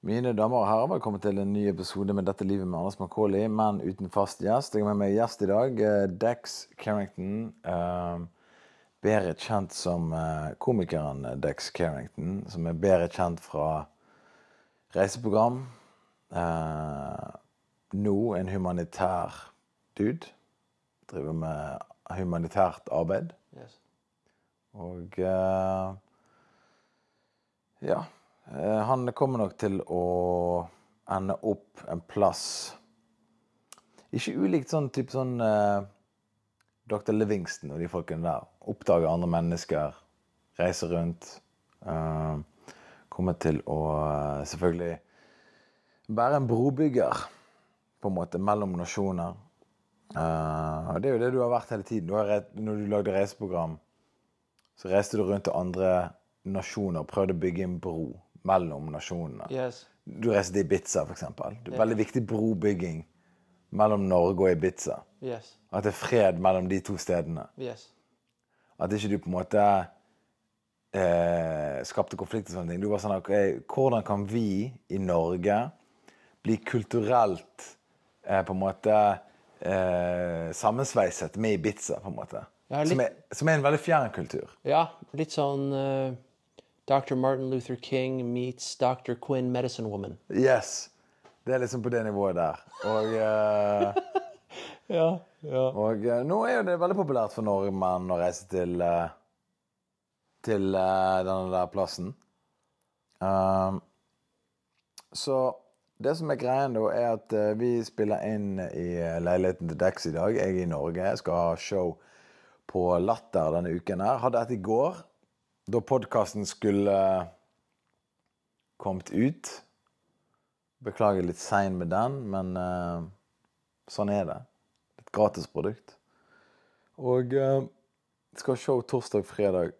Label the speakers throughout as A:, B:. A: Mine damer og herrer, velkommen til en ny episode med Dette livet med Anders Macauley, men uten fast gjest. Jeg har med meg gjest i dag. eh, Dex Carrington. eh, Bedre kjent som eh, komikeren Dex Carrington, som er bedre kjent fra reiseprogram. Eh, Nå en humanitær dude. Driver med humanitært arbeid.
B: Yes.
A: Og eh, ja. eh, han kommer nok til å ende opp en plass Ikke ulikt sånn type sånn eh, Dr. Livingston og de folkene der. Oppdage andre mennesker, reise rundt. eh, kommer til å eh, selvfølgelig være en brobygger, på en måte, mellom nasjoner. Eh, og det er jo det du har vært hele tiden. Du har, re- når du lagde reiseprogram, så reiste du rundt til andre nasjoner og prøvde å bygge en bro mellom nasjonene.
B: Yes.
A: Du reiste til Ibiza, for eksempel. Det er veldig viktig brobygging mellom Norge og Ibiza.
B: Yes.
A: At det er fred mellom de to stedene.
B: Yes.
A: At ikke du på en måte eh, skapte konflikt og sånne ting. Du var sånn ok, Hvordan kan vi i Norge bli kulturelt eh, på en måte eh, sammensveiset med Ibiza, på en måte?
B: Ja, litt-
A: Som, er, som er en veldig fjern kultur.
B: Ja, litt sånn eh, Dr. Martin Luther King meets Dr. Quinn Medicine Woman.
A: Yes. Det er liksom på det nivået der. Og, eh,
B: Ja, ja.
A: og eh, nå er jo det veldig populært for nordmenn å reise til eh, Til eh, denne der plassen. Um, så det som er greien, da, er at eh, vi spiller inn i eh, leiligheten til Dex i dag. Jeg er i Norge. Jeg skal ha show på Latter denne uken her. Hadde et i går, da podkasten skulle eh, kommet ut. Beklager litt sein med den, men eh, sånn er det. Et gratisprodukt. Og eh, skal ha show torsdag, fredag,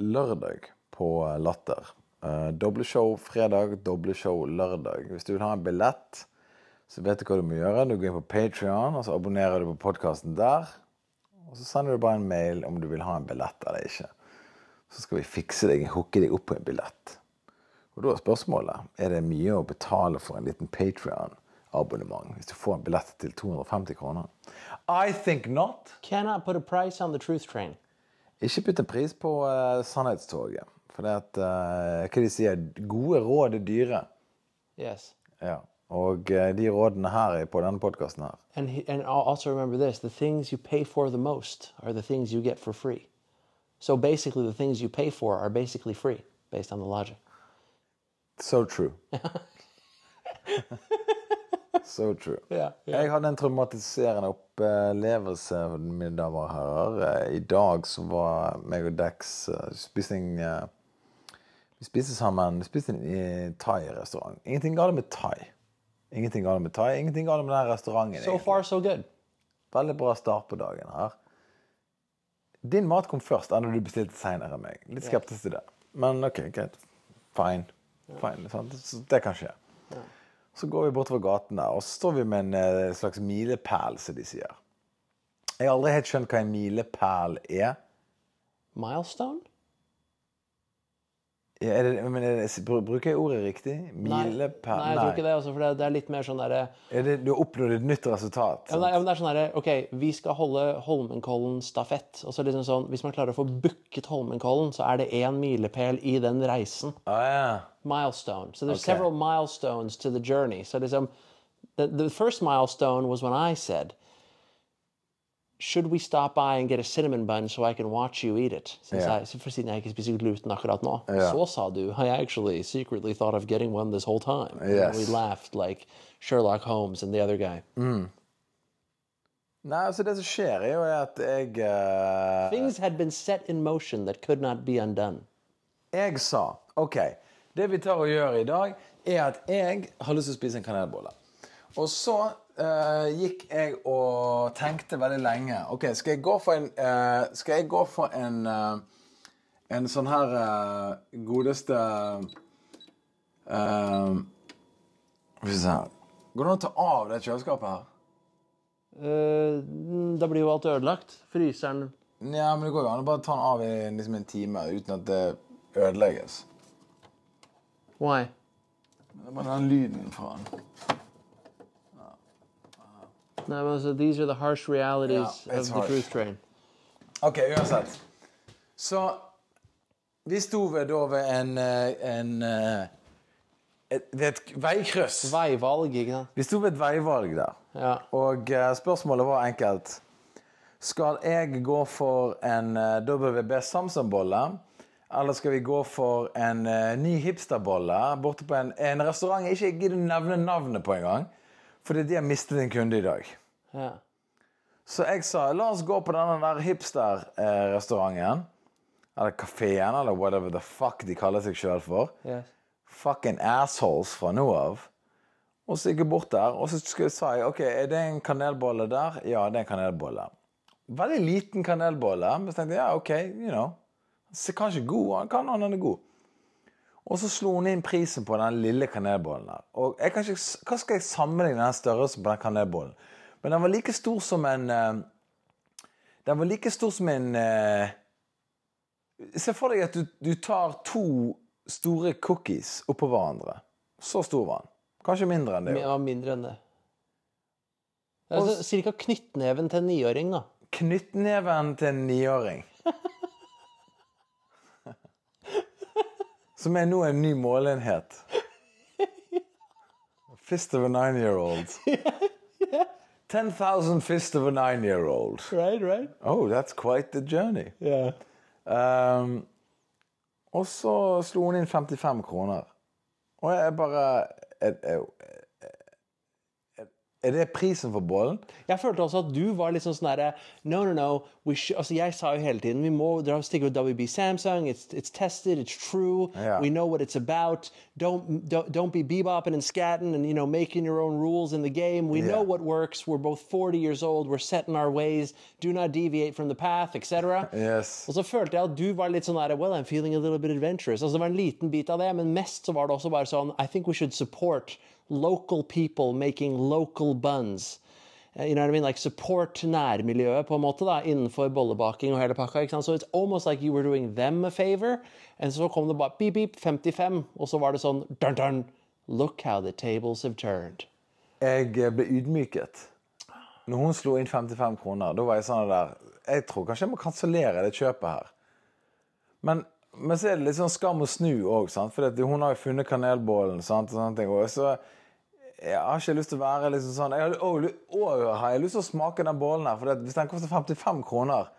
A: lørdag på eh, Latter. Eh, doble show fredag, doble show lørdag. Hvis du vil ha en billett, så vet du hva du må gjøre. Du går inn på Patrion, og så abonnerer du på podkasten der. Og så sender du bare en mail om du vil ha en billett eller ikke. Så skal vi fikse deg, hooke deg opp på en billett. Og da er spørsmålet er det mye å betale for en liten Patrion-abonnement hvis du får en billett til 250 kroner. I think not.
B: Cannot put a price on the truth train.
A: Ikke putt en pris på eh, sannhetstoget. For det at eh, Hva de sier? Gode råd er dyre.
B: Yes.
A: Ja. Og eh, de rådene her er på denne podkasten her.
B: And, he, and al- also remember this, the things you pay for the most are the things you get for free. So basically the things you pay for are basically free, based on the logic.
A: So true. so true.
B: Ja,
A: Jeg hadde en traumatiserende opplevelse, mine damer og herrer. Eh, I dag så var meg og Dex eh, spiste en eh, Vi spiste sammen vi spiste i en eh, thai-restaurant. Ingenting galt med thai. Ingenting galt med thai, ingenting galt med den restauranten.
B: So
A: egentlig.
B: far, so good.
A: Veldig bra start på dagen her. Din mat kom først, enn da du bestilte seinere enn meg. Litt skeptisk til det. Men OK, greit. Fine. Fine sant? Så det kan skje. Så går vi bortover gaten der, og så står vi med en eh, slags milepæl, som de sier. Jeg har aldri helt skjønt hva en milepæl er.
B: Milestone?
A: er det, men er det, br- bruker jeg ordet riktig?
B: Nei,
A: Milepæl?
B: nei, jeg tror ikke det, altså, for det, det er litt mer sånn derre
A: Er det, du har oppnådd et nytt resultat?
B: Ja, men, det- ja, men det er sånn her, ok, Vi skal holde Holmenkollen-stafett. og så er liksom sånn, Hvis man klarer å få booket Holmenkollen, så er det én milepæl i den reisen.
A: Ah, ja.
B: Milestone. So there's several milestones to the journey. So liksom, the, the first milestone was when I said, should we stop by and get a cinnamon bun so I can watch you eat it? Since
A: Ja.
B: I, for siden jeg ikke spiser gluten akkurat nå. Så sa du, I actually secretly thought of getting one this whole time.
A: Yes.
B: And we laughed like Sherlock Holmes and the other guy.
A: Nei, altså det som skjer, er jo at jeg eh,
B: Things had been set in motion that could not be undone.
A: Jeg sa OK, det vi tar og gjør i dag, er at jeg har lyst til å spise en kanelbolle. Og så eh, gikk jeg og tenkte veldig lenge. OK, skal jeg gå for en eh, Skal jeg gå for en eh, En sånn her eh, godeste eh, Skal vi se her Går det an å ta av det kjøleskapet her?
B: Eh, da blir jo alt ødelagt. Fryseren
A: Ja, men det går jo an å bare ta den av i liksom en time uten at det ødelegges.
B: Why?
C: Det var den lyden fra den.
B: No, those are, altså, these are the harsh realities
A: Yeah,
B: of
A: it's
B: the
A: harsh.
B: truth train.
A: Ok, uansett. Så vi sto ved, da ved en, eh, en eh, et, Ved et veikryss.
B: Vei, valg, ikke sant?
A: Vi sto ved et veivalg der.
B: Ja.
A: Og eh, spørsmålet var enkelt. Skal jeg gå for en eh, WB Samson-bolle? Eller skal vi gå for en eh, ny hipsterbolle borte på en, en restaurant jeg ikke gidder nevne navnet på engang? Fordi de har mistet en kunde i dag.
B: Ja.
A: Så jeg sa la oss gå på denne der hipster-restauranten. Eller kafeen, eller whatever the fuck de kaller seg sjøl for
B: Yes.
A: fucking assholes fra nå av. Og så gikk jeg bort der, og så skulle- sa jeg OK, er det en kanelbolle der? Ja, det er en kanelbolle. Veldig liten kanelbolle, men så tenkte jeg ja, OK, you know. Så kanskje god, han kan han er god. Og så slo hun inn prisen på den lille kanelbollen der. Og jeg kan ikke, s- hva skal jeg sammenligne den størrelsen på den kanelbollen? Men den var like stor som en eh, Den var like stor som en eh, Se for deg at du, du tar to store cookies oppå hverandre. Så stor var den. Kanskje mindre enn det.
B: Det var mindre enn det. Det er altså, cirka knyttneven til en niåring, da.
A: Knyttneven til en niåring. Som er nå en ny målenhet. Fist of a nine-year-old. 10,000 fist of a nine-year-old.
B: Right, right.
A: Oh, that's quite the journey.
B: Yeah.
A: Ehm, og så slo hun inn 55 kroner. Og jeg bare Er, er, er det prisen for bollen?
B: Jeg følte også at du var litt sånn sånn derre No, no, no. We should, altså jeg sa jo hele tiden Vi må dra og stikke ut WB Samsung. It's, it's tested, it's true.
A: Ja.
B: We know what it's about. Don't, don't, don't be bebopping and scatting and you know, making your own rules in the game. We know what works. We're both 40 years old. We're set in our ways. Do not deviate from the path, etc.
A: Yes.
B: Og så følte jeg at du var litt sånn der Well, I'm feeling a little bit adventurous. Altså Det var en liten bit av det, men mest så var det også bare sånn I think we should support local people making local buns. Eh, You know what I mean? Like support nærmiljøet på en måte da, innenfor bollebaking og hele pakka. ikke sant? So it's almost like you were doing them a favor. And så kom det bare beep, beep, 55, og så var det sånn dun, dun, Look how the tables have turned.
A: Jeg eh, ble ydmyket. Når hun slo inn 55 kroner, da var jeg sånn der Jeg tror kanskje jeg må kansellere det kjøpet her. Men, men så er det litt sånn skam å snu òg, for hun har jo funnet kanelbollen. Sant? Og sånne ting. Og så jeg har ikke lyst til å være liksom sånn jeg har, å, lu- å, har jeg lyst til å smake den bollen her? For hvis den koster 55 kroner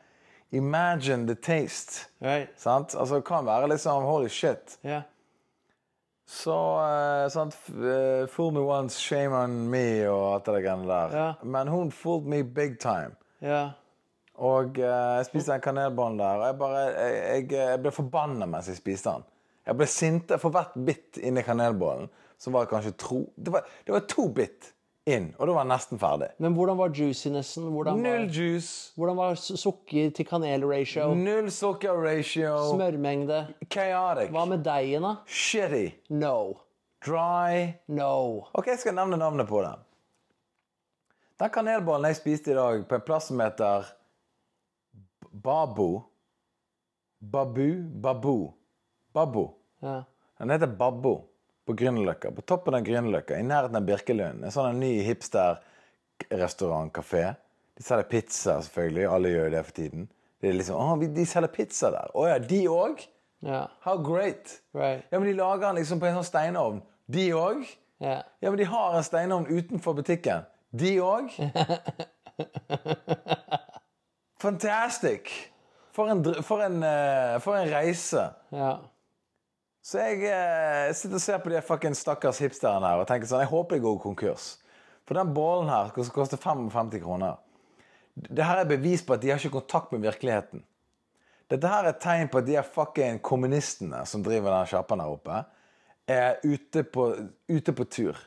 A: Imagine the taste.
B: Right?
A: Sant? Altså, det kan være liksom Holy shit.
B: Yeah.
A: Så eh, sant, f- eh, Fool me once, shame on me og alt det der greiene der.
B: Ja.
A: Men hun fooled me big time.
B: Yeah.
A: Og eh, jeg spiste en kanelbånd der, og jeg bare Jeg, jeg, jeg ble forbanna mens jeg spiste den. Jeg ble sinte for hvert bitt inni kanelbollen. Som var det kanskje tro det var, det var to bitt inn, og da var jeg nesten ferdig.
B: Men hvordan var juicinessen? Hvordan
A: Null
B: var,
A: juice,
B: hvordan var su- sukker til kanel-ratio?
A: null sukker ratio,
B: Smørmengde.
A: chaotic,
B: Hva med deigen, da?
A: shitty,
B: No.
A: dry
B: No.
A: Ok, jeg skal nevne navnet på den. Den kanelbollen jeg spiste i dag på en plass som heter B- Babo Babu Babu Babbo.
B: Ja.
A: Den heter Babbo på Grünerløkka. På toppen av Grünerløkka, i nærheten av Birkelund. En sånn ny hipster-restaurant-kafé. De selger pizza, selvfølgelig. Alle gjør jo det for tiden. Det er liksom, Å, vi- de selger pizza der. Å ja, de òg?
B: Ja.
A: How great!
B: Right.
A: Ja, men de lager den liksom på en sånn steinovn. De òg?
B: Ja.
A: Ja, men de har en steinovn utenfor butikken. De òg? Fantastic! For en, dr- for, en, eh, for en reise.
B: Ja.
A: Så jeg eh, sitter og ser på de fucking stakkars hipsterne her og tenker sånn Jeg håper de går konkurs. For den bollen her som koster 55 kroner Det her er bevis på at de har ikke kontakt med virkeligheten. Dette her er et tegn på at de her fucking kommunistene som driver den sjappen her oppe, er ute på, ute på tur.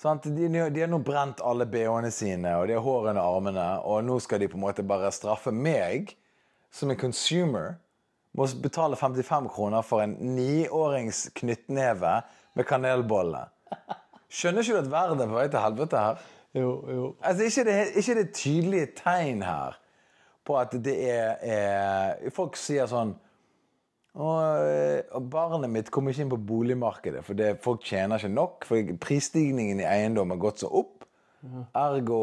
A: Sant? De, de har nå brent alle bh-ene sine, og de har hår under armene, og nå skal de på en måte bare straffe meg, som en consumer, må betale 55 kroner for en niårings knyttneve med kanelbolle. Skjønner ikke du at verden er på vei til helvete her?
B: Jo, jo.
A: Altså, ikke det, ikke det tydelige tegn her på at det er, er Folk sier sånn Og, eh, og barnet mitt kom ikke inn på boligmarkedet, for det, folk tjener ikke nok. For prisstigningen i eiendom har gått så opp. Ergo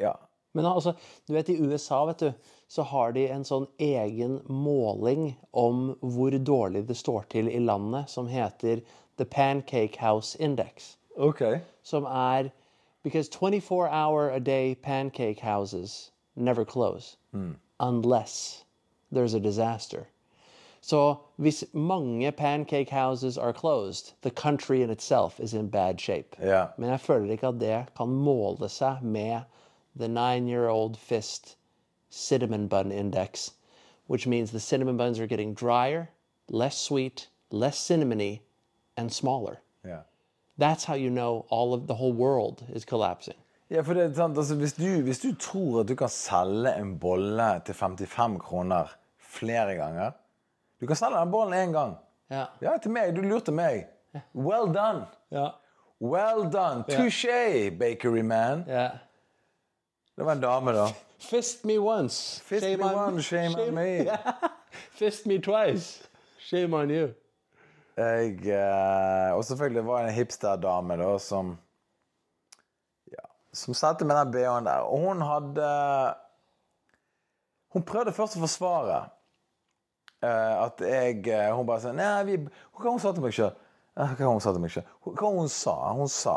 A: Ja.
B: Men altså, du vet, i USA vet du, så har de en sånn egen måling om hvor dårlig det står til i landet, som heter The Pancake House Index.
A: OK.
B: Som er Because 24 hour a day pancake houses never close unless there's a disaster. Så hvis mange pancake houses are closed, the country in itself is in bad shape.
A: Ja.
B: Men jeg føler ikke at det kan måle seg med the nine-year-old fist cinnamon bun index, which means the cinnamon buns are getting drier, less sweet, less cinnamony, and smaller.
A: Ja,
B: That's how you know all of the whole world is collapsing.
A: ja for det er sant, altså, hvis, du, hvis du tror at du kan selge en bolle til 55 kroner flere ganger Du kan selge den bollen én gang.
B: Yeah.
A: Ja, til meg. Du lurte meg. Well done.
B: Yeah.
A: Well done. Touché, bakery man.
B: Yeah.
A: Det var en dame, da.
B: Fist me once.
A: Fist me one, shame, on me.
B: Fist me twice. Shame on you.
A: Jeg, eh, og selvfølgelig var det en hipsterdame da, som ja, Som satte med den BH-en der. Og hun hadde Hun prøvde først å forsvare eh, at jeg eh, Hun bare sa Nei, vi Hva hun sa til meg sjøl? Hva hun sa til meg selv? Hva hun sa? Hun sa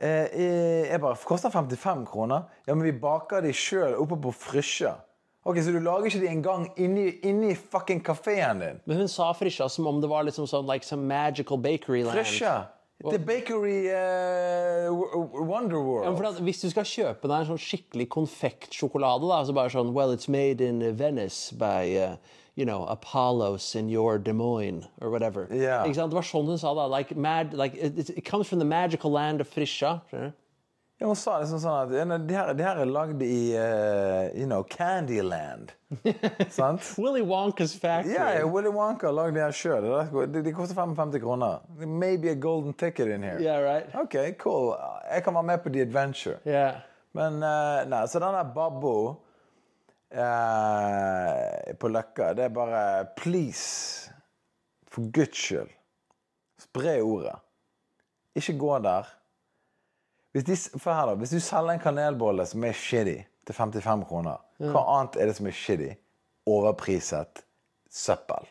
A: eh, eh, Jeg bare Koster 55 kroner? Ja, men vi baker de sjøl oppe på Frysja. Ok, Så du lager ikke de engang inni, inni fucking kafeen din?
B: Men hun sa Frisja som om det var liksom sånn like some magical bakery land.
A: Russia. The Bakery eh, Wonder
B: Ja, men
A: World.
B: for at hvis du skal kjøpe deg en sånn skikkelig konfektsjokolade, da, så bare sånn Well, it's made in Venice by uh, you know, Apollo Senor Des Moines, or whatever.
A: Ja.
B: Ikke sant? Det var sånn hun sa da. Like, mad, like, it, it- it comes from the magical land of Frisja. skjønner du?
A: Ja, hun sa liksom sånn at ja, nei, de her, de her er lagd i eh, you know, Candyland. Sant?
B: Willy Wonka's factory.
A: Ja, ja, Willy Wonka har lagd de her sjøl. De, de koster 55 kroner. Maybe a golden ticket in here.
B: Yeah, right?
A: OK, cool. Uh, Jeg kan være med på The Adventure.
B: Yeah.
A: Men eh, nei, så den der Babbo eh, på Løkka, det er bare please, for guds skyld, spre ordet. Ikke gå der. Hvis, de, s- for her da, hvis du selger en kanelbolle som er shitty til 55 kroner, hva annet er det som er shitty? Overpriset søppel.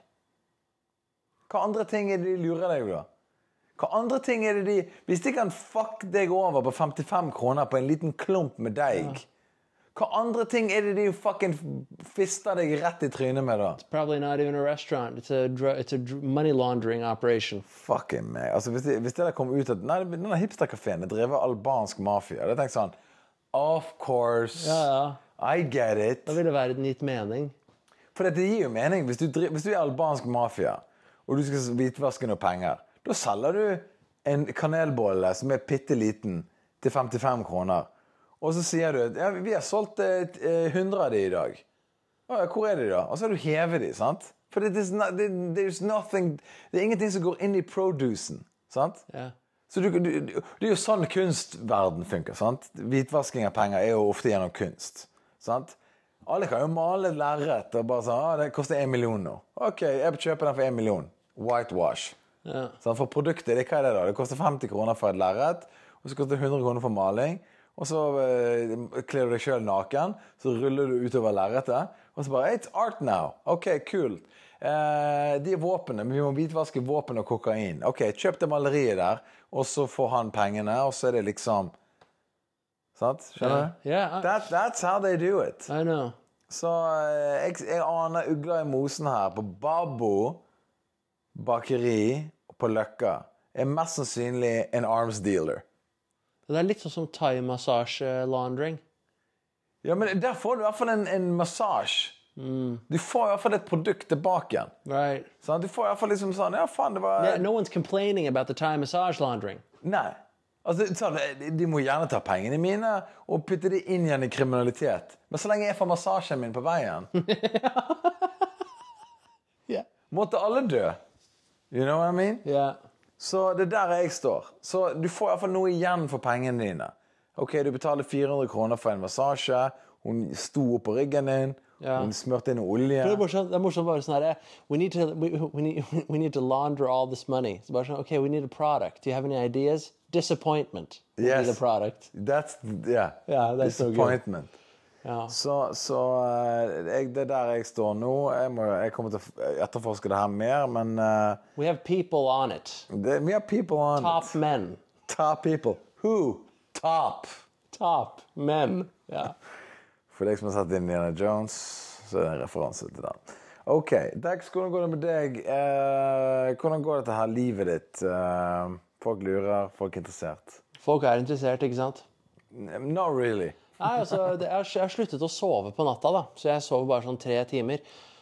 A: Hva andre ting er det de lurer deg på? da? Hva andre ting er det de Hvis de kan fuck deg over på 55 kroner på en liten klump med deig, hva andre ting er det de fucking fister deg rett i trynet med, da?
B: Probably not even a restaurant. It's a dr it's a dr money laundering operation.
A: Fucking meg. Altså, hvis, det, hvis det der kom ut at Nei, denne hipsterkafeen er drevet av albansk mafia. Da tenkte jeg sånn Of course.
B: Ja, ja.
A: I get it.
B: Da ville verden gitt mening.
A: For det gir jo mening. Hvis du, dri- hvis du er albansk mafia, og du skal hvitvaske noe penger, da selger du en kanelbolle som er bitte liten, til 55 kroner. Og så sier du at ja, vi har solgt eh, t- eh, 100 av de i dag. Å, ja, hvor er de, da? Og så har du hevet de, sant? For det, is not, det- there's nothing, det er ingenting som går inn i producen. Sant?
B: Ja.
A: Så du, du, du, det er jo sånn kunstverden funker. sant? Hvitvasking av penger er jo ofte gjennom kunst. sant? Alle kan jo male et lerret og bare sånn ah, 'Det koster én million nå.' OK, jeg kjøper den for én million. Whitewash.
B: Ja.
A: Sant? For produktet, det, hva er det da? Det koster 50 kroner for et lerret, og så koster det 100 kroner for maling. Og så eh, kler du deg sjøl naken, så ruller du utover lerretet, og så bare It's art now. OK, kult. Eh, de våpnene, men vi må hvitvaske våpen og kokain. OK, kjøp det maleriet der, og så får han pengene, og så er det liksom Sant? Skjønner du?
B: Ja, ja.
A: That, that's how they do it.
B: I know.
A: Så eh, jeg, jeg aner ugler i mosen her. På Babbo bakeri på Løkka er mest sannsynlig en arms dealer.
B: Det er litt sånn som uh, thai-massasje-laundering.
A: Ja, men Der får du i hvert fall en, en massasje. Du får i hvert fall et produkt tilbake igjen.
B: Right.
A: Sant? du får i hvert fall liksom sånn Ja, faen, det var
B: Yeah, no one's complaining about the Thai massage laundering.
A: Nei. Altså, sånn, de- De må gjerne ta pengene mine og putte de inn igjen i kriminalitet. Men så lenge jeg får massasjen min på veien
B: Yeah.
A: Måtte alle dø. You know what I mean?
B: Yeah.
A: Så det er der jeg står. Så du får iallfall noe igjen for pengene dine. Ok, du betaler 400 kroner for en massasje. Hun sto opp på ryggen din. Hun smurte inn olje.
B: Det er morsomt, det er morsomt bare sånn her, we need, to, we, we, need, we need to launder all this money. Så bare sånn, ok, we need a product. Do you have any ideas? Disappointment will be
A: Yes.
B: the product.
A: That's, yeah.
B: Yeah, that's so good.
A: Disappointment.
B: Ja.
A: Så, så eh, jeg, det er der jeg står nå. Jeg, må, jeg kommer til å f- eh, etterforske det her mer, men eh,
B: We have people on it.
A: det er mye people on
B: Top men.
A: Top people. Who? Top.
B: Top men. Ja.
A: For deg som har sett Indiana Jones, så er det en referanse til den. Ok, Dex, hvordan går det med deg? Eh, hvordan går dette her livet ditt? Eh, folk lurer, folk er interessert.
B: Folk er interessert, ikke sant?
A: N- Not really.
B: Nei, altså, det, jeg, har, jeg har sluttet å sove på natta, da. Så jeg sover bare sånn tre timer.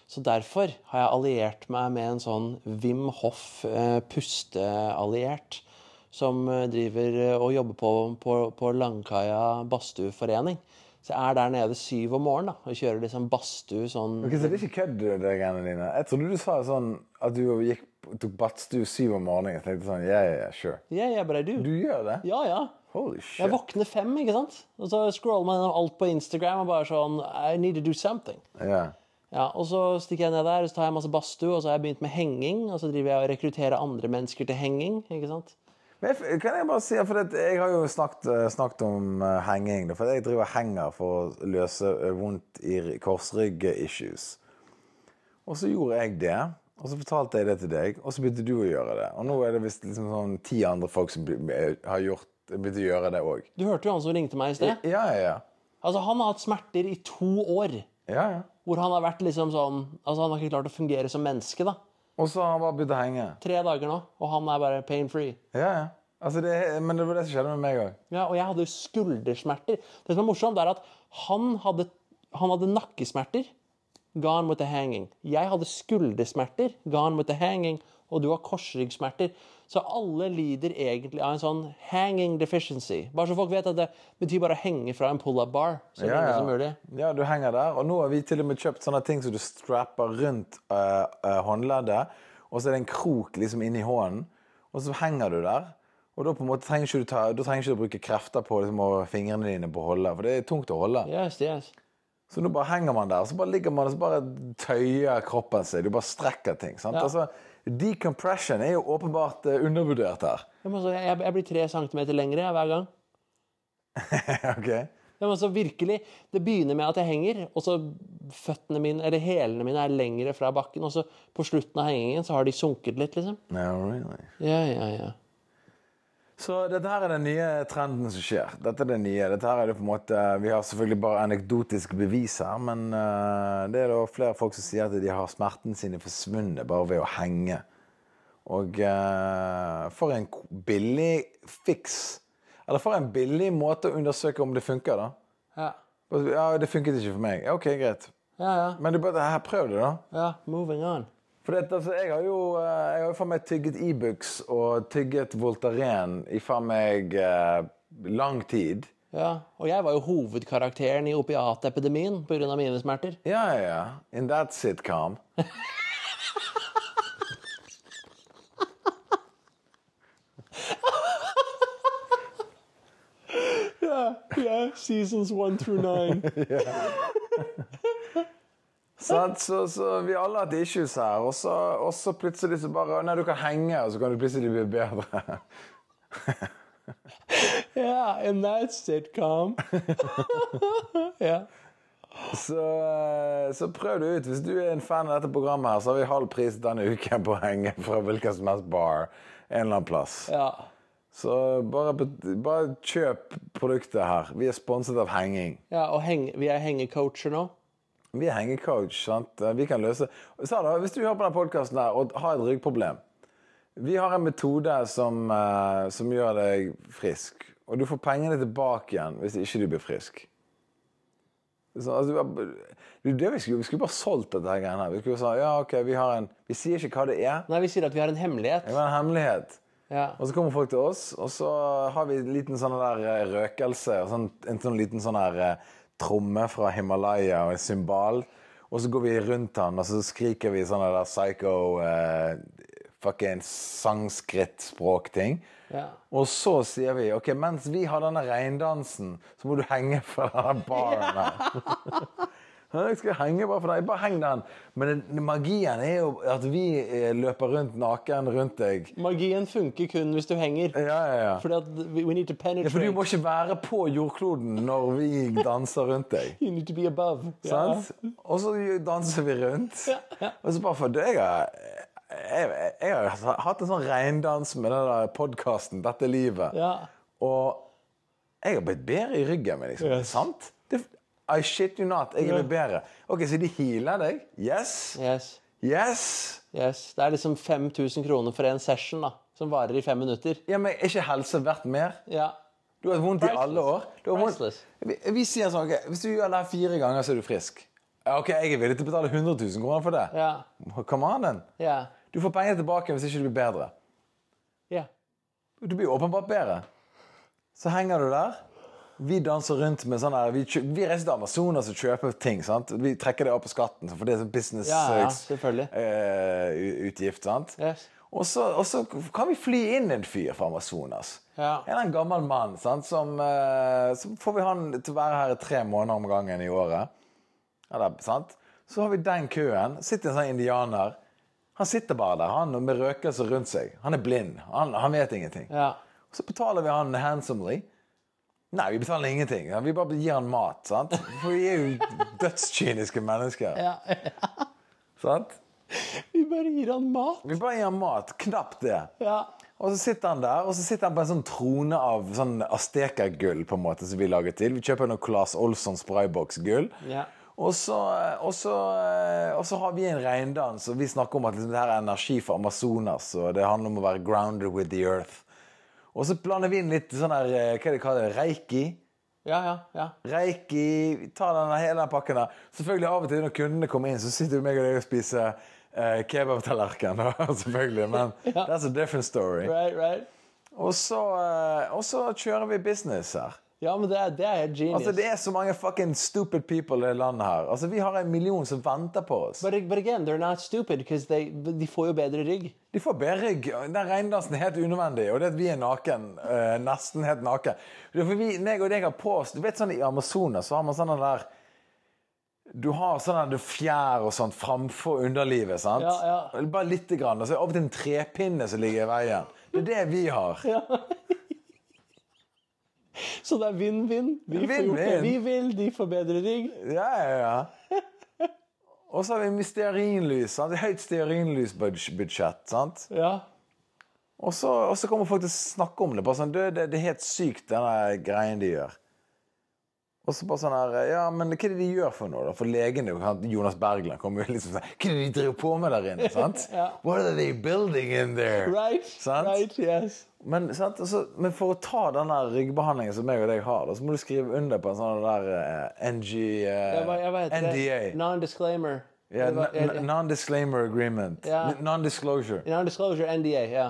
B: Så derfor har jeg alliert meg med en sånn Wim Hoff eh, pustealliert. Som eh, driver eh, og jobber på, på, på Langkaia badstueforening. Så jeg er der nede syv om morgenen da, og kjører liksom badstue sånn
A: Ok, så det er ikke kødd, det der greiene dine. Jeg trodde du sa sånn at du gikk, tok badstue syv om morgenen. Jeg tenkte sånn, yeah, yeah, sure.
B: Yeah, yeah, but I do.
A: Du gjør det?
B: Ja, ja.
A: Holy
B: Jeg
A: shit.
B: våkner fem, ikke sant? Og så scroller man gjennom alt på Instagram og bare sånn I need to do something.
A: Ja.
B: Ja, og så stikker jeg ned der, så tar jeg masse badstue, og så har jeg begynt med henging. Og så driver jeg og rekrutterer andre mennesker til henging. ikke sant?
A: Men jeg, kan jeg bare si, for det, jeg har jo snakket, eh, snakket om eh, henging. da, For jeg driver og henger for å løse eh, vondt i r- korsrygg-issues. Og så gjorde jeg det, og så fortalte jeg det til deg, og så begynte du å gjøre det. Og nå er det visst liksom sånn ti andre folk som blir- eh, har gjort, begynt å gjøre det òg.
B: Du hørte jo han som ringte meg i sted.
A: Ja, ja, ja.
B: Altså, Han har hatt smerter i to år.
A: ja, ja.
B: Hvor han har vært liksom sånn Altså, han har ikke klart å fungere som menneske, da.
A: Og så har han bare begynt å henge.
B: Tre dager nå, og han er bare pain free.
A: Ja, ja. Altså, det, er- men det var det som skjedde med meg òg.
B: Ja, og jeg hadde jo skuldersmerter. Det som er morsomt, er at han hadde, han hadde nakkesmerter. Gone with the hanging. Jeg hadde skuldersmerter. Gone with the hanging. Og du har korsryggsmerter. Så alle lider egentlig av en sånn hanging deficiency. Bare så folk vet at det betyr bare å henge fra en pull-up bar så
A: Ja,
B: lenge
A: ja.
B: som mulig.
A: Ja, du henger der. Og nå har vi til og med kjøpt sånne ting som du strapper rundt eh, eh, håndleddet. Og så er det en krok liksom inni hånden, og så henger du der. Og da på en måte trenger ikke du ta, da trenger ikke du bruke krefter på liksom, å- fingrene dine på å holde, for det er tungt å holde.
B: Yes, yes.
A: Så nå bare henger man der, og så bare ligger man og så bare tøyer kroppen seg. Du bare strekker ting. sant?
B: Ja.
A: Altså, decompression er jo åpenbart eh, undervurdert her.
B: Ja, men altså, Jeg, jeg blir tre centimeter lengre jeg, hver gang.
A: ok?
B: Ja, men altså virkelig, Det begynner med at jeg henger, og så føttene mine, eller hælene mine er lengre fra bakken. Og så på slutten av hengingen så har de sunket litt, liksom.
A: No, really.
B: Ja, ja, ja.
A: Så dette her er den nye trenden som skjer. Dette er det nye. Dette her er det på en måte, Vi har selvfølgelig bare anekdotisk bevis her, men eh, det er da flere folk som sier at de har smertene sine forsvunnet bare ved å henge. Og eh, for en k- billig fiks. Eller for en billig måte å undersøke om det funker, da.
B: Ja,
A: Bare, Ja, det funket ikke for meg. Ja, OK, greit.
B: ja. ja,
A: Men du bare, her, prøv det, da.
B: ja. Moving on.
A: For dette, altså, jeg har jo eh, jeg har jo faen meg tygget Ibux og tygget Voltaren i faen meg eh, lang tid.
B: Ja, Og jeg var jo hovedkarakteren i opiatepidemien pga. mine smerter.
A: Ja, ja, ja. In that sitcom.
B: Yeah, seasons one through nine.
A: Sant? Så, så vi alle har hatt issues her, og så, og så plutselig så bare Nei, du kan henge, og så kan du plutselig bli bedre.
B: yeah, in that sitcom. ja.
A: Så, eh, så prøv det ut. Hvis du er en fan av dette programmet, her, så har vi halv pris denne uken på å henge fra hvilken som helst bar en eller annen plass.
B: ja.
A: Så bare, bet- bare kjøp produktet her. Vi er sponset av henging.
B: Ja, Og heng, vi er hengecoacher nå.
A: Vi er hengecoach, sant? Vi kan løse Sa da, Hvis du hører på denne podkasten og har et ryggproblem Vi har en metode som, eh, som gjør deg frisk. Og du får pengene tilbake igjen hvis ikke du blir frisk. Så, altså, du bare- du, det vi, skulle, vi skulle bare solgt dette her greiene her. Vi skulle sagt ja, ok, vi har en Vi sier ikke hva det er,
B: Nei, vi sier at vi har en hemmelighet.
A: det var en hemmelighet.
B: Ja.
A: Og så kommer folk til oss, og så har vi en liten sånn der eh, røkelse. og Sånn, en sånn liten sånn der eh, tromme fra Himalaya og en cymbal. Og så går vi rundt han, og så skriker vi sånne der psycho eh, fucking sanskrit-språkting.
B: Ja.
A: Og så sier vi ok, mens vi har denne reindansen, så må du henge fra denne baren her. Ja, Sånn, Jeg skal henge bare for deg. Bare heng den. Men den- magien er jo at vi eh, løper rundt naken rundt deg.
B: Magien funker kun hvis du henger.
A: Ja, ja, ja.
B: Fordi at we we need to
A: Ja,
B: penetrate.
A: for du må ikke være på jordkloden når vi danser rundt deg.
B: You need to be above. Ja.
A: Sant? Og så danser vi rundt. Og så bare for jeg har, jeg, jeg har hatt en sånn reindans med den podkasten 'Dette er livet'.
B: Ja.
A: Og jeg har blitt bedre i ryggen min. Liksom.
B: Yes.
A: Sant? Det, I shit you not. Jeg er blitt bedre. Ok, Så de healer deg? Yes.
B: Yes.
A: Yes.
B: yes. Det er liksom 5000 kroner for en session da, som varer i fem minutter.
A: Ja, men Er ikke helse verdt mer?
B: Ja.
A: Du har hatt vondt i
B: Priceless.
A: alle år. Du har vondt-
B: Priceless.
A: Vi, vi sier sånn, ok, Hvis du gjør det her fire ganger, så er du frisk. Ja, ok, Jeg er villig til å betale 100 000 kroner for det.
B: Ja.
A: Come on, then.
B: Ja.
A: Du får penger tilbake hvis ikke du blir bedre.
B: ja.
A: Du blir jo åpenbart bedre. Så henger du der. Vi danser rundt med sånn her Vi, kjø- vi reiser til Amazonas og kjøper ting. sant? Vi trekker det opp på skatten, for det er sånn business
B: Ja, ja,
A: eh,
B: selvfølgelig.
A: eh, u- utgift. sant?
B: Yes.
A: Og så, og så kan vi fly inn en fyr fra Amazonas.
B: Ja.
A: En eller annen gammel mann. sant? Som, eh, så får vi han til å være her i tre måneder om gangen i året. Eller, sant? Så har vi den køen. Sitter en sånn indianer. Han sitter bare der, han med røkelse rundt seg. Han er blind. Han, han vet ingenting.
B: Ja.
A: Og så betaler vi han handsomely. Nei, vi betaler ingenting. Vi bare gir han mat. sant? For vi er jo dødskyniske mennesker.
B: Ja.
A: sant?
B: Vi bare gir han mat.
A: Vi bare gir han mat. Knapt det.
B: Ja.
A: Og så sitter han der, og så sitter han på en sånn trone av sånn Asteka-gull på en måte som vi lager til. Vi kjøper noe Claes Olsson spraybox-gull.
B: Ja.
A: Og så, og, så, og så har vi en regndans, og vi snakker om at liksom, det her er energi fra Amazonas, og det handler om å være grounded with the earth. Og så blander vi inn litt sånn her, eh, hva er det de kaller det, reiki.
B: Ja, ja, ja.
A: Reiki, ta den hele den pakken der. Selvfølgelig av og til når kundene kommer inn, så sitter jo meg og deg og spiser eh, kebabtallerken, da, selvfølgelig. Men that's a different story.
B: Right, right.
A: Og så, eh, og så kjører vi business her.
B: Ja, men det er, det er helt genius.
A: Altså, Det er så mange fucking stupid people i det landet her. Altså, Vi har en million som venter på oss.
B: But, but again, they're not stupid, because they, de får jo bedre rygg.
A: De får bedre rygg. Den regndansen er helt unødvendig. Og det at vi er naken, eh, nesten helt naken Det er for vi, meg og deg har på oss Du vet sånn i Amazonas så har man sånn den der Du har sånn der fjær og sånt framfor underlivet, sant?
B: Ja, ja.
A: Bare lite grann. Og så er det av og til en trepinne som ligger i veien. Det er det vi har.
B: Så det er vinn-vinn. Vi får gjort det
A: Vinn-vinn.
B: vi vil, de får bedre rygg.
A: Ja, ja, ja. Og så har vi med stearinlys. sant? Høyt stearinlysbudsjett. sant?
B: Ja.
A: Og så, og så kommer folk til å snakke om det. bare sånn, «Du, det, det er helt sykt, denne greien de gjør. Og så bare sånn her, ja, men Hva er det de gjør for noe? da? For legene han- Jonas Bergland kommer jo liksom sånn Hva er det de driver på med der inne? sant?
B: Ja.
A: What are they building in there?
B: Right,
A: Sant?
B: right, yes.
A: Men, sant? og så- men for å ta den der ryggbehandlingen som meg og deg har, da, så må du skrive under på en sånn der eh, NG... eh,
B: Jeg, jeg vet det.
A: NDA.
B: Non-disclaimer.
A: Ja,
B: Det var-
A: n- n- Non-disclaimer agreement.
B: Ja.
A: N- Non-disclosure.
B: Non-disclosure, NDA, ja.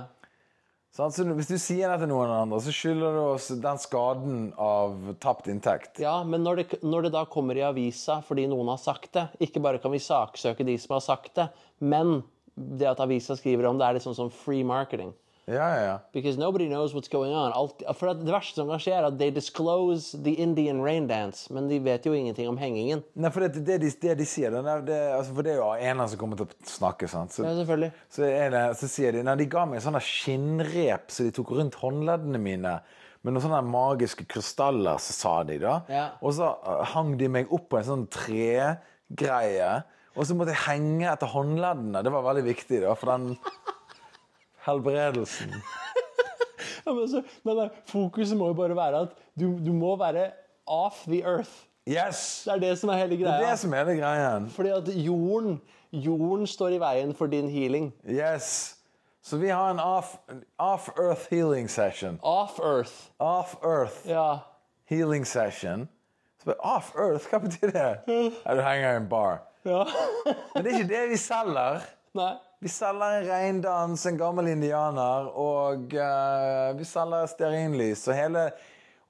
A: Sant? Så hvis du sier det til noen andre, så skylder du oss den skaden av tapt inntekt.
B: Ja, men når det, når det da kommer i avisa fordi noen har sagt det, ikke bare kan vi saksøke de som har sagt det, men det at avisa skriver om det, er liksom som free marketing.
A: Ja, ja, ja.
B: Because nobody knows what's going on. Alt, for at det verste som kan skje, er at they disclose the Indian rain dance, men de vet jo ingenting om hengingen.
A: Nei, for det, det, de, det de sier, den er- det, altså, for det er jo en eller annen som kommer til å snakke, sant?
B: Ja,
A: Så,
B: selvfølgelig.
A: så, er det, så sier de, nei, de ga meg en sånn der skinnrep som de tok rundt håndleddene mine, med noen sånne der magiske krystaller, så sa de da.
B: Ja.
A: Og så eh, hang de meg opp på en sånn tregreie, og så måtte jeg henge etter håndleddene. Det var veldig viktig da, for den helbredelsen.
B: Ja, men altså, nei, nei, fokuset må jo bare være at du, du må være off the earth.
A: Yes!
B: Det er det som er hele
A: Det
B: greia.
A: er det som er hele greien.
B: Fordi at jorden, jorden står i veien for din healing.
A: Yes. Så vi har en off- en off-earth healing session.
B: Off earth.
A: Off-earth
B: Ja.
A: healing session. Så bare, Off-earth, hva betyr det? Ja, du henger i en bar.
B: ja.
A: Men det er ikke det vi selger.
B: Nei.
A: Vi selger en reindans, en gammel indianer, og eh, vi selger stearinlys og hele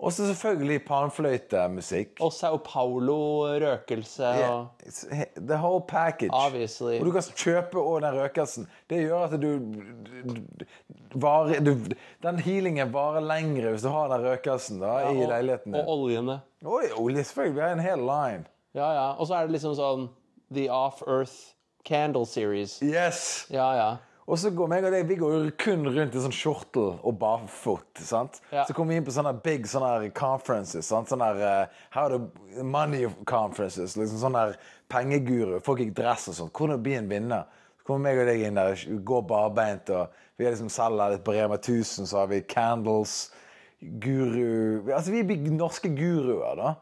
A: Og så selvfølgelig panfløytemusikk.
B: Og Sao Paulo-røkelse
A: Yeah.
B: og
A: It's- The whole package.
B: Obviously.
A: Og du kan kjøpe òg den røkelsen. Det gjør at du, du, varer, du Den healingen varer lengre hvis du har den røkelsen da, i
B: og,
A: leiligheten
B: og
A: din.
B: oljene.
A: Oi, olje, selvfølgelig. Vi har en hel line.
B: Ja, ja. Og så er det liksom sånn The Off Earth Candle Series.
A: Yes!
B: Ja, ja.
A: Og så går meg og deg vi går jo kun rundt i sånn skjortel og barfot. sant?
B: Ja.
A: Så kommer vi inn på sånne big sånne her conferences. sant? Sånne her, eh, How to money conferences. liksom Sånn her pengeguru. Folk gikk dress og sånt. Hvordan bli en vinner? Så kommer meg og deg inn der, går barbeint, og vi er liksom selger litt på Rema 1000, så har vi Candles, guru Altså, vi blir norske guruer, da.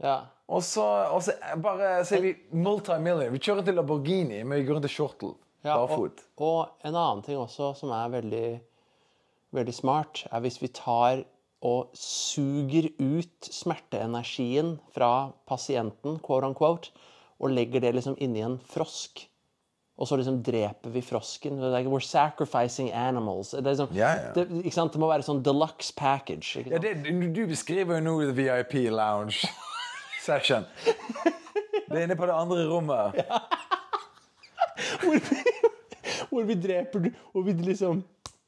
B: ja.
A: Og så, og så eh, bare så er vi multimillion. Vi kjører til Lamborghini, men vi går rundt i skjortel.
B: Ja,
A: Barfot.
B: Og, og en annen ting også som er veldig, veldig smart, er hvis vi tar og suger ut smerteenergien fra pasienten, quote unquote, og legger det liksom inni en frosk. Og så liksom dreper vi frosken. Det er Like, we're sacrificing animals. Det, er liksom,
A: Ja, ja.
B: Det, ikke sant? det må være sånn deluxe package. Ikke
A: Ja, det,
B: sant?
A: du du beskriver jo nå the VIP lounge session. Det er inne på det andre rommet.
B: hvor, vi, hvor vi dreper Hvor vi liksom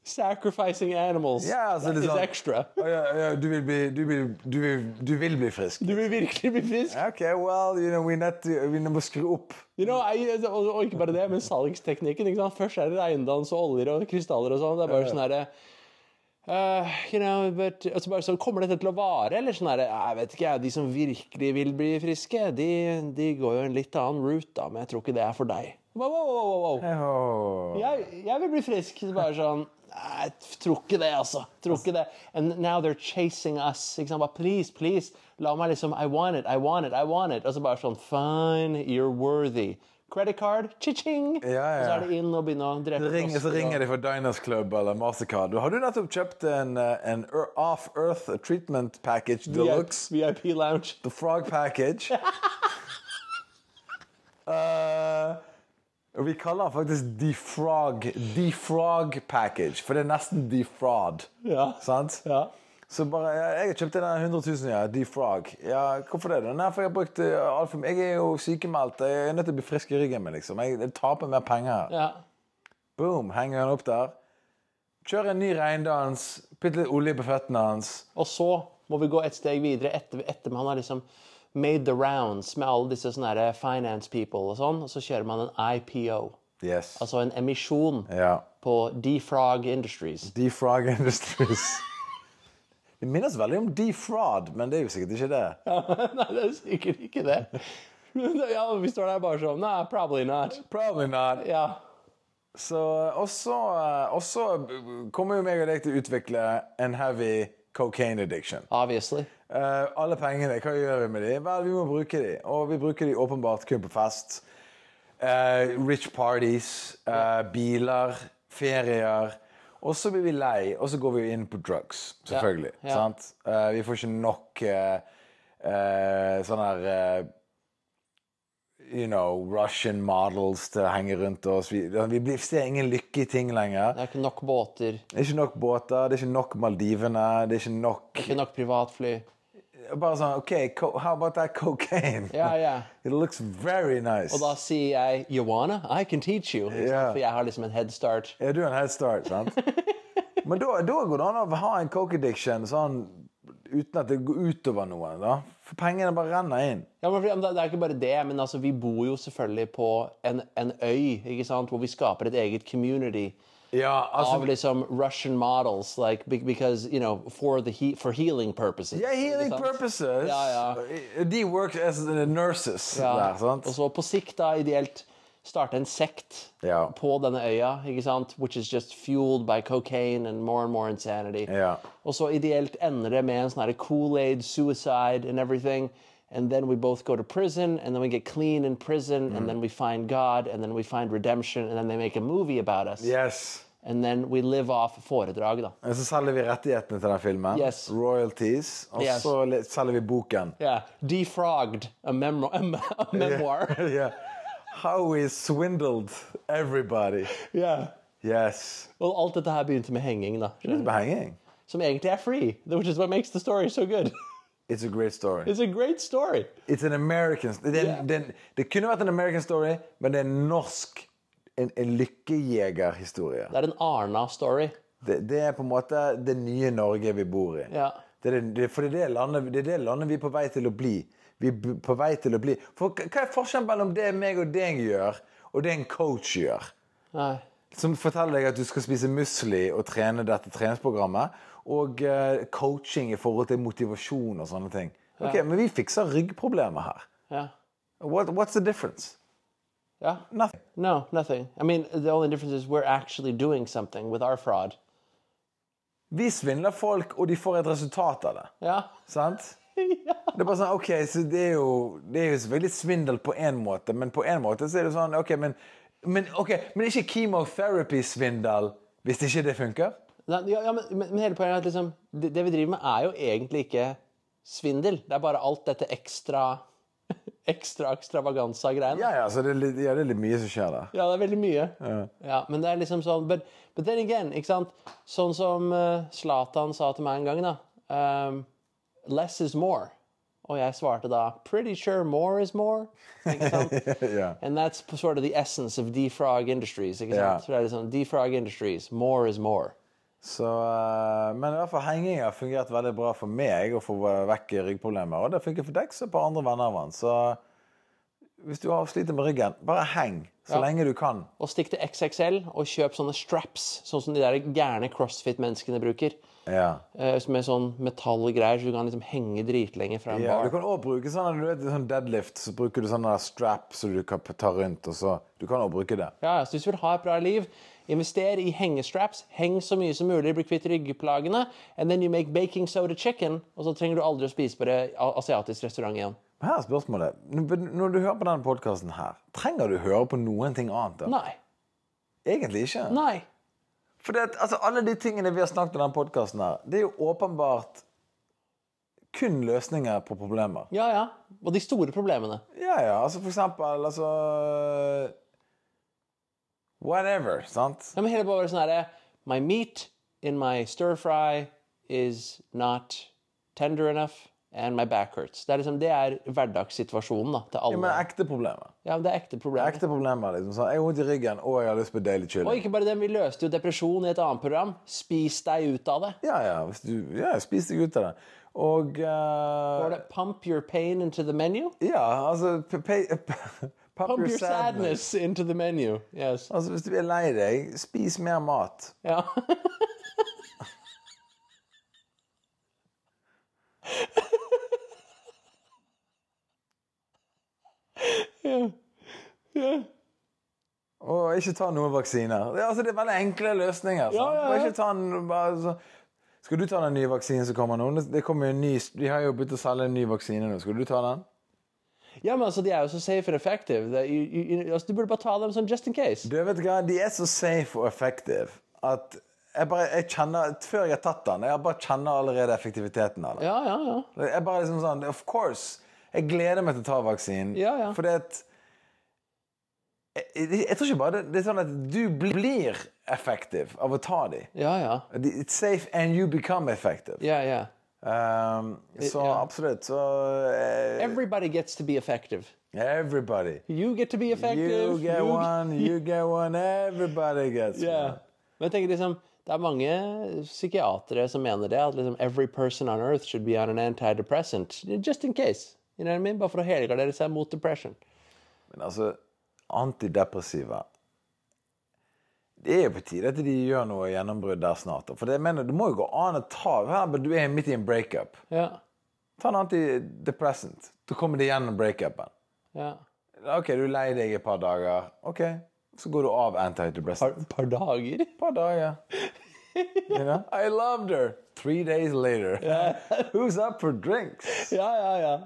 B: Sacrificing animals
A: Ja, altså, det er
B: is
A: sånn-
B: extra.
A: Å, ja, ja, du, vil bli, du, vil, du, vil, du vil bli frisk.
B: Du vil virkelig bli frisk.
A: OK, well, you know, we need to, we need to skru opp.
B: You know, ei, og, og ikke bare det, men salgsteknikken. Ikke sant? Først er det regndans og oljer og krystaller og sånn. Det er bare sånn herre eh, you know, but, og så bare sånn, Kommer dette til å vare, eller sånn herre Jeg vet ikke, jeg. De som virkelig vil bli friske, de, de går jo en litt annen route, da, men jeg tror ikke det er for deg. Wow, wow, wow, wow, wow.
A: Oh.
B: Jeg, jeg vil bli frisk. Så bare sånn Nei, jeg tror ikke det, altså. Jeg Tror ikke det. And now they're chasing us. Ikke sant? Bare, please, please. La meg liksom I want it, I want it, I want it. Og så bare sånn Fine, you're worthy. Credit card, cha-ching!
A: Ja, ja.
B: Og så er det inn og begynne å drepe
A: Så ringer, så
B: frosker,
A: ringer
B: og-
A: de fra Diners Club eller Mastercard. Har du nettopp kjøpt en, eh, en Ear- Off Earth Treatment Package Deluxe?
B: VIP lounge.
A: The Frog Package. Eh, og vi kaller den faktisk The Frog, The Frog Package, for det er nesten The Fraud.
B: Ja.
A: Sant?
B: Ja.
A: Så bare, ja, Jeg har kjøpt den her 100 000, ja. The Frog. Ja, hvorfor det? da? Nei, for jeg har brukt eh, alt for mye. Jeg er jo sykemeldt. Jeg er nødt til å bli frisk i ryggen min, liksom. Jeg, jeg taper mer penger. her.
B: ja.
A: Boom, henger han opp der. Kjører en ny regndans. Bitte litt olje på føttene hans.
B: Og så må vi gå et steg videre etter, etter man har liksom made the rounds med alle disse sånne her finance people og sånn, og så kjører man en IPO.
A: Yes.
B: Altså en emisjon.
A: Ja.
B: på Defrog Industries.
A: Defrog Industries. Det minner oss veldig om defraud, men det er jo sikkert ikke det.
B: Nei, det er sikkert ikke det. ja, Vi står der bare sånn Nei, probably not.
A: Probably not.
B: Ja.
A: Så, og så eh, og så kommer jo meg og deg til å utvikle en heavy cocaine addiction.
B: Obviously.
A: Eh, alle pengene, hva gjør vi med de? Vel, vi må bruke de. Og vi bruker de åpenbart kun på fest. Eh, rich parties, eh, biler, ferier. Og så blir vi lei, og så går vi jo inn på drugs, selvfølgelig.
B: Ja.
A: Sant? Eh, vi får ikke nok eh, eh, sånn her eh, You know, Russian models til å henge rundt oss. Vi, vi blir, ser ingen lykke i ting lenger.
B: Det er ikke nok båter, det
A: Det er ikke nok båter, det er ikke nok Maldivene, det er ikke nok
B: er ikke nok privatfly.
A: Bare sånn, ok, co how about that cocaine?
B: Ja, ja.
A: It looks very nice.
B: Og da sier jeg You wanna? I can teach you. Ikke sant?
A: Ja.
B: For jeg har liksom en head start.
A: Ja, du er en head start, sant? Men da, da går det an å ha en coke addiction sånn, uten at det går utover noen, da. For pengene bare renner inn.
B: Ja, men fordi- men Det det er ikke bare det, men altså, vi bor jo selvfølgelig på en, en øy ikke sant? hvor vi skaper et eget community.
A: Ja,
B: Of liksom Russian models, like be- because you know for the he for healing purposes.
A: Yeah, healing
B: ikke sant?
A: purposes.
B: Ja, ja.
A: De work as the nurses der, er sant?
B: Og så på sikt, da, ideelt starte en sekt
A: Ja.
B: på denne øya, ikke sant? which is just fueled by cocaine and more and more insanity.
A: Ja.
B: Og så ideelt ender det med en sånn her Kool-Aid, suicide and everything. And then we both go to prison, and then we get clean in prison,
A: Mm.
B: and then we find God, and then we find redemption, and then they make a movie about us.
A: Yes.
B: And then we live off foredrag, da.
A: Og så selger vi rettighetene til den filmen.
B: Yes.
A: Royalties. Og
B: Yes.
A: så le- selger vi boken.
B: Yeah. Defrogged, a, memo a, me- a memoir.
A: yeah. How we swindled everybody.
B: yeah.
A: Yes.
B: Og alt dette her begynte med henging, da.
A: Det er behenging.
B: som egentlig er free. Which is what makes the story so good.
A: It's a great story.
B: It's a great story.
A: It's an American det, er en-
B: Yeah.
A: det, er en- det kunne vært en American story, men det er en norsk En, en lykkejegerhistorie.
B: Det er en Arna-story.
A: Det, det er på en måte det nye Norge vi bor i.
B: Ja.
A: Det er det, det, for det er det, landet, det er det landet vi er på vei til å bli. Vi er b- på vei til å bli For hva hva er forskjellen mellom det meg og deg gjør, og det en coach gjør?
B: Nei.
A: Som forteller deg at du skal spise musli og trene dette treningsprogrammet, og eh, coaching i forhold til motivasjon og sånne ting. Ok, Men vi fikser ryggproblemer her.
B: Yeah.
A: What, what's the difference?
B: Yeah.
A: Nothing.
B: No, nothing. I mean, the only difference is we're actually doing something with our fraud.
A: Vi svindler folk, og de får et resultat av det.
B: Yeah.
A: Sant? Det er bare sånn, ok, så det er jo, det er jo selvfølgelig svindel på en måte, men på en måte så er det sånn, ok, men, men, ok, men ikke chemotherapy-svindel hvis ikke det funker?
B: Nei, ja, ja, men, men men hele poenget er at liksom, det, det vi driver med, er jo egentlig ikke svindel. Det er bare alt dette ekstra ekstra ekstravaganza-greiene.
A: Ja, ja, så det er litt, ja, det er litt mye som skjer der.
B: Ja, det er veldig mye. Ja, men det er liksom sånn But, but then again, ikke sant? Sånn som eh, Zlatan sa til meg en gang, da. ehm, less is more. Og jeg svarte da pretty sure more is more. Ikke sant?
A: Ja.
B: And that's p- sort of the essence of defrog industries. Ikke
A: Ja.
B: sant? Så det er liksom, defrog industries, more is more.
A: Så, eh, men i hvert fall henging har fungert veldig bra for meg å få vekk ryggproblemer, og det funker for Dex og et par andre venner av han, så hvis du har sliter med ryggen, bare heng så
B: Ja.
A: lenge du kan.
B: Og stikk til XXL og kjøp sånne straps, sånn som de der gærne CrossFit-menneskene bruker.
A: Ja.
B: eh, Med sånn metallgreier, så du kan liksom henge dritlenge fra en
A: Ja, du
B: bar.
A: kan også bruke sånn, du vet, sånn deadlift, så bruker du sånn der strap som du kan ta rundt, og så Du kan også bruke det.
B: Ja, ja, så hvis du vil ha et bra liv, invester i hengestraps. Heng så mye som mulig, bli kvitt ryggeplagene. And then you make baking soda chicken, og så trenger du aldri å spise på det a- asiatisk restaurant igjen.
A: Men her er spørsmålet. N- Når du hører på denne podkasten her, trenger du høre på noen ting annet? da?
B: Nei.
A: Egentlig ikke.
B: Nei.
A: For det, at, altså, alle de tingene vi har snakket om i denne podkasten her, det er jo åpenbart kun løsninger på problemer.
B: Ja, ja. Og de store problemene.
A: Ja, ja, altså for eksempel, altså Whatever, sant?
B: Ja, men hele bare sånn herre My meat in my stir fry is not tender enough, and my back hurts. Det er liksom, det er hverdagssituasjonen da, til alle.
A: Men ekte problemer.
B: Ja, men det er ekte problemer.
A: Ekte problemer, liksom. Sånn, jeg har vondt i ryggen, og jeg har lyst på deilig chili.
B: Og ikke bare det, vi løste jo depresjon i et annet program. Spis deg ut av det.
A: Ja, ja. Hvis du, ja spis deg ut av det. Og eh,
B: Var det pump your pain into the menu?
A: Ja, altså p- p- p- Pump
B: Pump your sadness into the menu. Yes.
A: Altså, Hvis du er lei deg, spis mer mat.
B: Ja.
A: Og ikke ta noen vaksiner. Det, er- altså, det er veldig enkle løsninger. sant?
B: Ja, ja, ja.
A: Og ikke ta en, bare, så- Skal du ta den nye vaksinen som kommer nå? Det- Det kommer jo en ny, De har jo begynt å selge en ny vaksine nå. Skal du ta den?
B: ja, men altså, de er jo så safe and effective. Det er- you- you- you- altså, du burde bare ta dem sånn just in case.
A: Du vet du hva, De er så safe og effective at jeg bare, jeg kjenner, Før jeg har tatt den, jeg bare kjenner allerede effektiviteten av det.
B: Ja, ja, ja.
A: Jeg er bare liksom sånn, of course Jeg gleder meg til å ta vaksinen
B: Ja, ja.
A: Fordi at jeg, jeg, jeg tror ikke bare det, det er sånn at du bli- blir effektiv av å ta de
B: Ja, ja.
A: De- It's safe and you become effective
B: Yeah, yeah.
A: um, Så
B: ja.
A: absolutt så, eh,
B: Everybody gets to be effective.
A: Everybody
B: You get to be effective.
A: You get one, you get one Everybody gets
B: Yeah.
A: one
B: Men jeg tenker liksom, det er mange psykiatere som mener det, at liksom every person on earth should be on an antidepressant, just in case. You know what I mean? Bare for å helgardere seg mot depression.
A: Men altså, antidepressiva Det er jo på tide at de gjør noe gjennombrudd der snart. da. For det, jeg mener, det må jo gå an å ta her, men Du er midt i en breakup.
B: Ja,
A: Ta en antidepressant. Da kommer det gjennom breakupen.
B: ja.
A: OK, du er lei deg i et par dager. OK, så går du av
B: Par,
A: antidepressant.
B: par dager?
A: Et par dager. You know? I loved her. Three days later. Who's up for drinks?
B: Ja, ja, ja.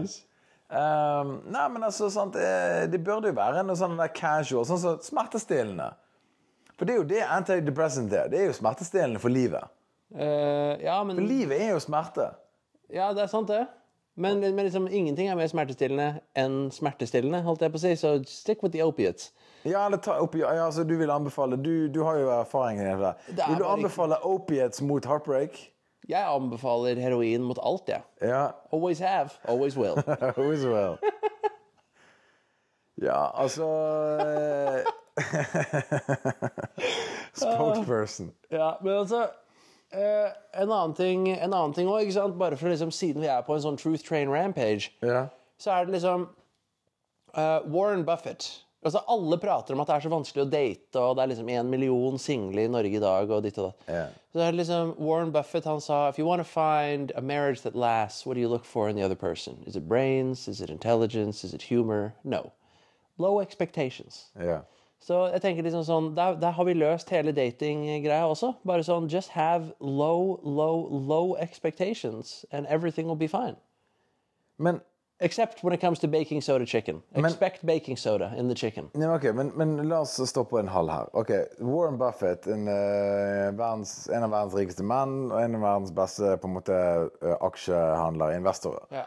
B: Nice.
A: Ehm, nei, men altså, sant, eh, det burde jo være noe sånn der casual, sånn som smertestillende. For det er jo det antidepressant er. Det er jo smertestillende for livet.
B: Eh, ja, men,
A: Livet er jo smerte.
B: ja, det er sant det. Men, men liksom, ingenting er mer smertestillende enn smertestillende, holdt jeg på å si. Så stick with the opiates.
A: Ja, eller ta opi ja, altså, du vil anbefale Du, du har jo erfaring med det.
B: Det er
A: Vil du
B: bare ikke-
A: anbefale opiates mot heartbreak?
B: Jeg anbefaler heroin mot alt, jeg.
A: Ja.
B: Always have, always will.
A: Always well. Ja, altså eh, Spokesperson.
B: Ja, men altså eh, en annen ting En annen ting òg, ikke sant? Bare for liksom, siden vi er på en sånn Truth Train Rampage,
A: Ja.
B: så er det liksom eh, Warren Buffett. Altså Alle prater om at det er så vanskelig å date, og det er liksom én million single i Norge i dag. og ditt og datt.
A: Ja.
B: Så det er liksom Warren Buffett han sa If you want to find a marriage that lasts, what do you look for in the other person? Is it brains? Is it intelligence? Is it humor? No. Low expectations.
A: ja.
B: Så jeg tenker liksom sånn, der, der har vi løst hele dating-greia også. Bare sånn, just have low, low, low expectations, and everything will be fine.
A: Men,
B: Except when it comes to baking soda chicken. Expect baking soda in the chicken.
A: nei, men ok, men, men la oss stoppe en halv her. Ok, Warren Buffett, en, eh, verdens, en av verdens rikeste menn og en av verdens beste på en måte eh, aksjehandlere, investorer.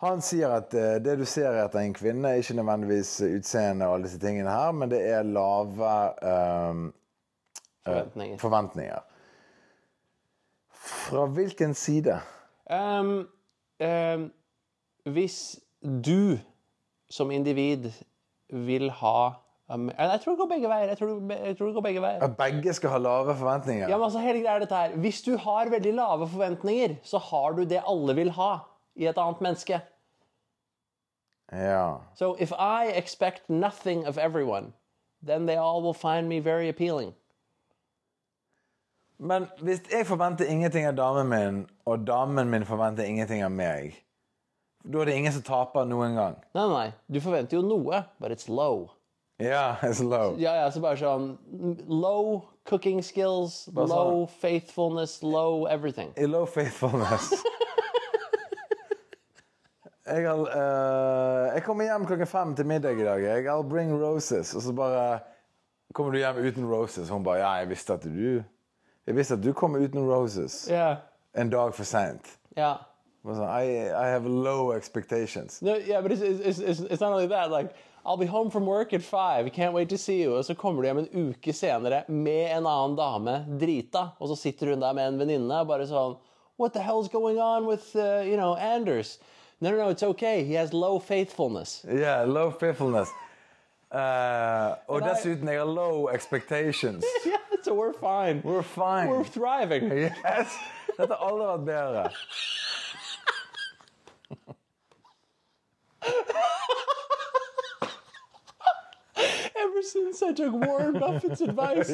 A: Han sier at eh, det du ser etter en kvinne, er ikke nødvendigvis utseende og alle disse tingene her, men det er lave eh,
B: Forventninger.
A: forventninger. Fra hvilken side?
B: Um, um, hvis du som individ vil ha um, Jeg tror det går begge veier. Jeg tror, det- jeg tror det går begge veier.
A: At begge skal ha lave forventninger?
B: Ja, men altså, hele greia er dette her. Hvis du har veldig lave forventninger, så har du det alle vil ha i et annet menneske.
A: Ja.
B: So if I expect nothing of everyone, then they all will find me very appealing.
A: Men hvis jeg forventer ingenting av damen min, og damen min forventer ingenting av meg, da er det ingen som taper noen gang.
B: Nei, nei, nei, du forventer jo noe, but it's low.
A: Ja, it's low.
B: Ja, ja, så bare sånn mm, Low cooking skills, low faithfulness, low everything.
A: I low faithfulness. Jeg, har, eh, jeg kommer hjem klokken fem til middag i dag. Jeg I'll bring roses. Og så bare kommer du hjem uten roses. Hun bare Ja, jeg visste at du Jeg visste at du kom uten roses
B: Ja.
A: en dag for seint.
B: Ja.
A: I, I have low expectations.
B: No, yeah, but it's, it's, it's, it's not only that. Like, I'll be home from work at five. Can't wait to see you. Og så kommer du hjem en uke senere med en annen dame, drita. Og så sitter hun der med en venninne og bare sånn What the hell's going on with, uh, you know, Anders? No, no, no, it's okay. He has low faithfulness.
A: Yeah, low faithfulness. Eh, og
B: Men jeg-
A: dessuten, jeg har low expectations.
B: Yeah, so we're fine.
A: We're fine.
B: We're thriving.
A: Yes! Dette har aldri vært bedre.
B: Ever since I took Warren Buffett's advice.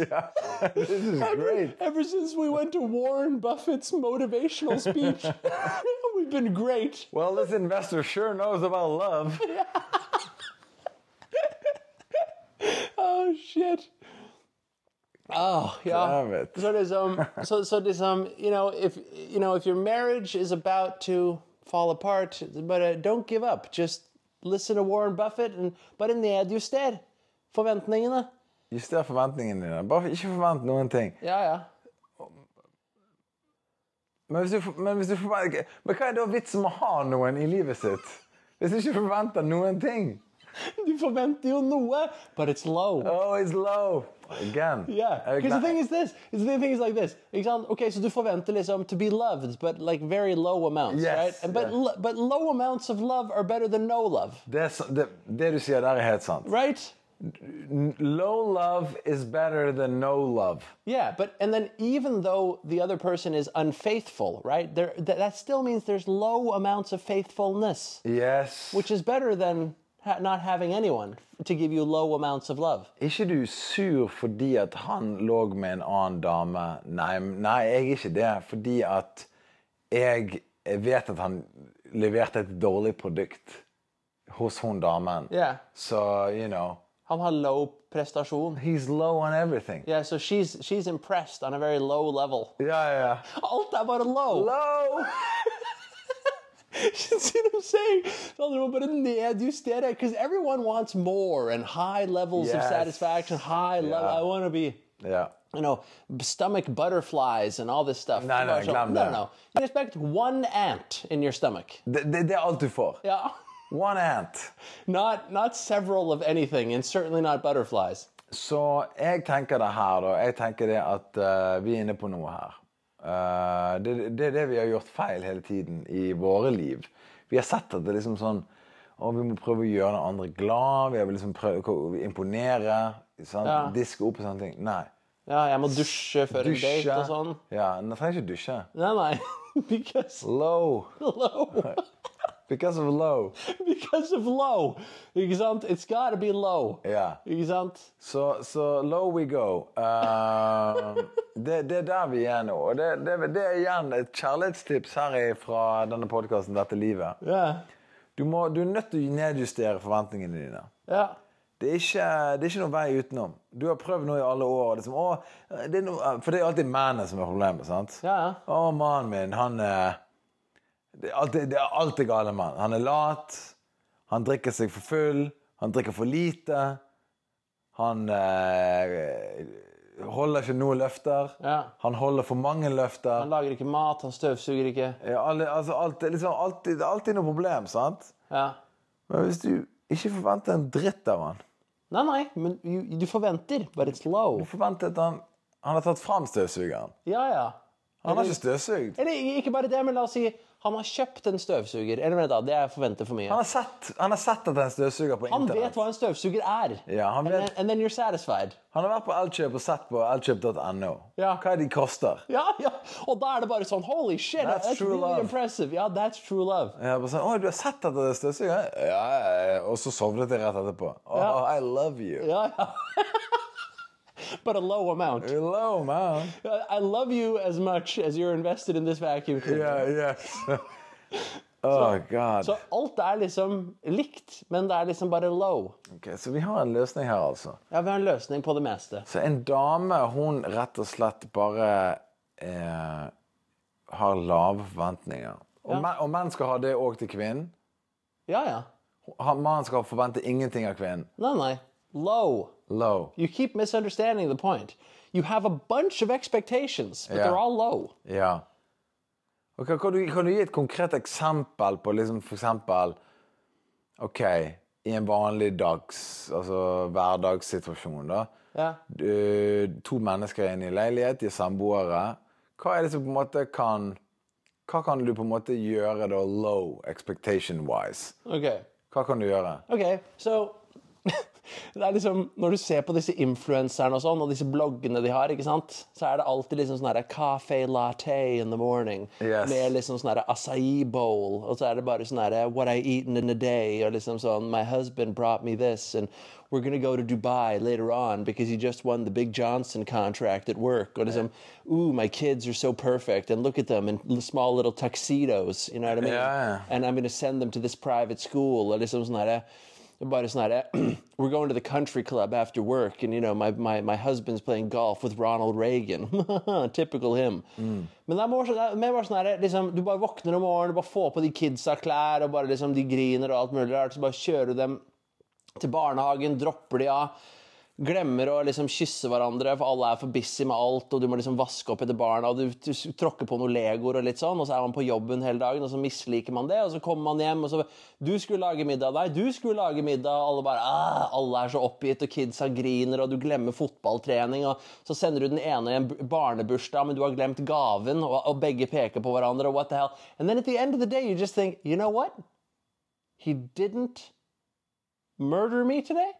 A: This is great.
B: Ever since we went to Warren Buffett's motivational speech, we've been great.
A: Well, this investor sure knows about love.
B: Oh shit. Oh yeah.
A: Damn it.
B: So does um so so does um you know if you know if your marriage is about to fall apart, but uh, don't give up. Just listen to Warren Buffett and but in the ad you said forventningene.
A: Juster forventningene dine. Bare ikke forvent noen ting.
B: Ja ja.
A: Men hvis du, for- men hvis du forventer Men hva er da vitsen med å ha noen i livet sitt? Hvis du ikke forventer noen ting?
B: Du forventer jo noe, but it's low.
A: Oh, it's low. Again.
B: Yeah,
A: Jeg er
B: because the
A: glad-
B: thing is this. Is the thing is like this. Example, okay, so du forventer liksom to be loved, but like very low amounts,
A: Yes,
B: right? And, but
A: yeah.
B: lo- but low amounts of love are better than no love,
A: det, er så- det, det du sier der, er helt sant.
B: right?
A: N- Low love is better than no love.
B: Yeah, but and then even though the other person is unfaithful, right? There th- that still means there's low amounts of faithfulness,
A: Yes.
B: which is better than ha- not having anyone to give you low amounts of love.
A: Er ikke du sur fordi at han lå med en annen dame? Nei, nei, jeg er ikke det. Fordi at jeg vet at han leverte et dårlig produkt hos hun damen.
B: Yeah.
A: Så, you know
B: Han har low prestasjon.
A: He's low on everything.
B: Yeah, so she's she's impressed on a very low level.
A: Ja, ja, ja.
B: Alt er bare low.
A: Low!
B: See what I'm saying? It's all a little bit of nedjustert because everyone wants more and high levels of
A: Yes.
B: satisfaction, high level.
A: Yeah.
B: I want to be,
A: Ja.
B: you know, b- stomach butterflies and all this stuff.
A: No, no,
B: So-
A: glad I'm
B: no, no,
A: there.
B: no. You expect one ant in your stomach.
A: Det, det, det er alt du får.
B: Yeah.
A: One ant.
B: Not not several of anything, and certainly not butterflies.
A: Så jeg tenker det her, da. Jeg tenker det at eh, vi er inne på noe her. Eh, det, det er det vi har gjort feil hele tiden i våre liv. Vi har sett at det er liksom sånn Å, vi må prøve å gjøre den andre glad. Vi har liksom prøvd å imponere. Sant?
B: Ja.
A: Diske opp og sånne ting. Nei.
B: Ja, jeg må dusje før en
A: Dusje.
B: date og sånn.
A: Ja, men jeg trenger ikke dusje.
B: Nei, nei. Because
A: Low.
B: low.
A: Because of low.
B: Because of low. Ikke sant? It's gotta be low.
A: Ja.
B: Ikke sant?
A: Så, så low we go. Eh, det, det er der vi er nå. Og det, det, det er igjen et kjærlighetstips her i- fra denne podkasten Dette livet.
B: Ja.
A: Du, må, du er nødt til å nedjustere forventningene dine.
B: Ja.
A: Det er, ikke, det er ikke noen vei utenom. Du har prøvd nå i alle år. og Det er som, å, det er noe, for det er alltid mennene som er problemet. sant?
B: Ja, ja.
A: Å, mannen min, han er Det er alltid, det er alltid gale med han. Han er lat. Han drikker seg for full. Han drikker for lite. Han eh, holder ikke noen løfter.
B: Ja.
A: Han holder for mange løfter.
B: Han lager ikke mat, han støvsuger ikke.
A: Ja, alle, altså, alt, det er liksom, alltid, det er alltid noe problem, sant?
B: Ja.
A: Men hvis du ikke forventer en dritt av han
B: Nei, nei, men you- du forventer, but it's low.
A: Du forventer at han, han har tatt fram støvsugeren.
B: Ja, ja.
A: Han har ikke støvsugd.
B: Eller ikke bare det, men la oss si han har kjøpt en støvsuger. Eller vent da, det er forventet for mye.
A: Han har sett, han har sett at det er en støvsuger på
B: Han
A: internett.
B: vet hva en støvsuger er.
A: Ja, han
B: And
A: vet-
B: then, and then you're satisfied.
A: Han har vært på Elkjøp og sett på elkjøp.no.
B: Ja.
A: Hva de koster.
B: Ja, ja. Og da er det bare sånn Holy shit,
A: That's
B: that's,
A: true
B: really
A: love.
B: impressive. Ja, that's true love.
A: Jeg bare sånn, Å, du har sett at det er støvsuger? Ja, ja, ja. Og så sovnet jeg rett etterpå. Oh, I love you.
B: Ja, ja. but a low amount.
A: Hello, man.
B: I love you as much as you're invested in this vacuum cleaner.
A: Yeah, yes. Oh, God.
B: Så alt er liksom likt, men det er liksom bare low.
A: Ok, så vi har en løsning her, altså.
B: Ja, vi har en løsning på det meste.
A: Så en dame, hun rett og slett bare eh, har lave forventninger. Og, men, og menn skal ha det òg til kvinnen.
B: Ja, ja.
A: Han- Mannen skal forvente ingenting av kvinnen.
B: Nei, nei. Low.
A: Low.
B: You keep misunderstanding the point. You have a bunch of expectations, but
A: Yeah.
B: they're all low.
A: Ja. Og kan, kan, du, kan du gi et konkret eksempel på liksom for eksempel OK, i en vanlig dags, altså hverdagssituasjon, da.
B: Ja.
A: Du, to mennesker er inne i leilighet, de er samboere. Hva er det som på en måte kan Hva kan du på en måte gjøre da low expectation-wise?
B: Okay.
A: Hva kan du gjøre?
B: Ok, so det er liksom, Når du ser på disse influenserne og sånn, og disse bloggene de har, ikke sant? så er det alltid liksom sånn her cafe latte in the morning
A: Yes.
B: med liksom sånn her acai bowl, og så er det bare sånn her what I eat in a day, og liksom sånn My husband brought me this, and we're gonna go to Dubai later on because he just won the Big Johnson contract at work, og liksom Ooh, my kids are so perfect, and look at them in small little tuxedos, you know what I mean?
A: Ja, ja.
B: and I'm going to send them to this private school. Og liksom sånn herre Bare sånn herre We're going to the country club after work, and you know, my, my, my husband's playing golf with Ronald Reagan. Typical him. Men det er mer sånn- det er mer bare sånn herre liksom, Du bare våkner om morgenen, bare får på de kidsa klær, og bare liksom de griner og alt mulig rart, så bare kjører du dem til barnehagen, dropper de av. Glemmer å liksom kysse hverandre, for alle er for busy med alt. Og du må liksom vaske opp etter barna, og du, du tråkker på noen legoer, og litt sånn, og så er man på jobben hele dagen, og så misliker man det. Og så kommer man hjem, og så Du skulle lage middag. Nei, du skulle lage middag. Og alle bare «Ah», Alle er så oppgitt, og kidsa griner, og du glemmer fotballtrening. Og så sender du den ene i en bu- barnebursdag, men du har glemt gaven, og, og begge peker på hverandre, og what the hell. And then at the end of the day, you just think, you know what? He didn't murder me today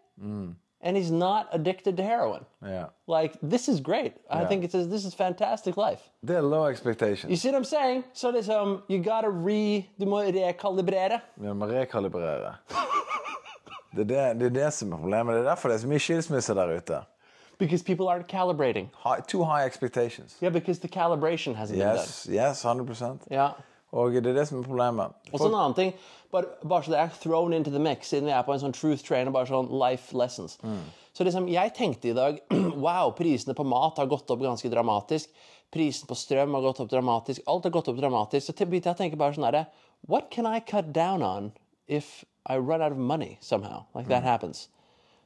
B: and he's not addicted to heroin.
A: Ja.
B: Like this is great. I think it says this is fantastic life.
A: Det er low expectation.
B: You see what I'm saying? So this um you gotta re du må rekalibrere.
A: Vi må rekalibrere. Det er det, det er det som er problemet. Det er derfor det er så mye skilsmisser der ute.
B: Because people aren't calibrating.
A: High, too high expectations.
B: Yeah, because the calibration hasn't
A: Yes, yes, 100
B: been done. Yeah.
A: Og det er det som er problemet.
B: Og så en annen ting, bare, bare så det er thrown into the mix, siden vi er på en sånn truth train og bare sånn life lessons. Så liksom, jeg tenkte i dag wow, prisene på mat har gått opp ganske dramatisk. Prisen på strøm har gått opp dramatisk. Alt har gått opp dramatisk. Så til- begynte jeg å tenke bare sånn herre What can I cut down on if I run out of money somehow? Like that happens.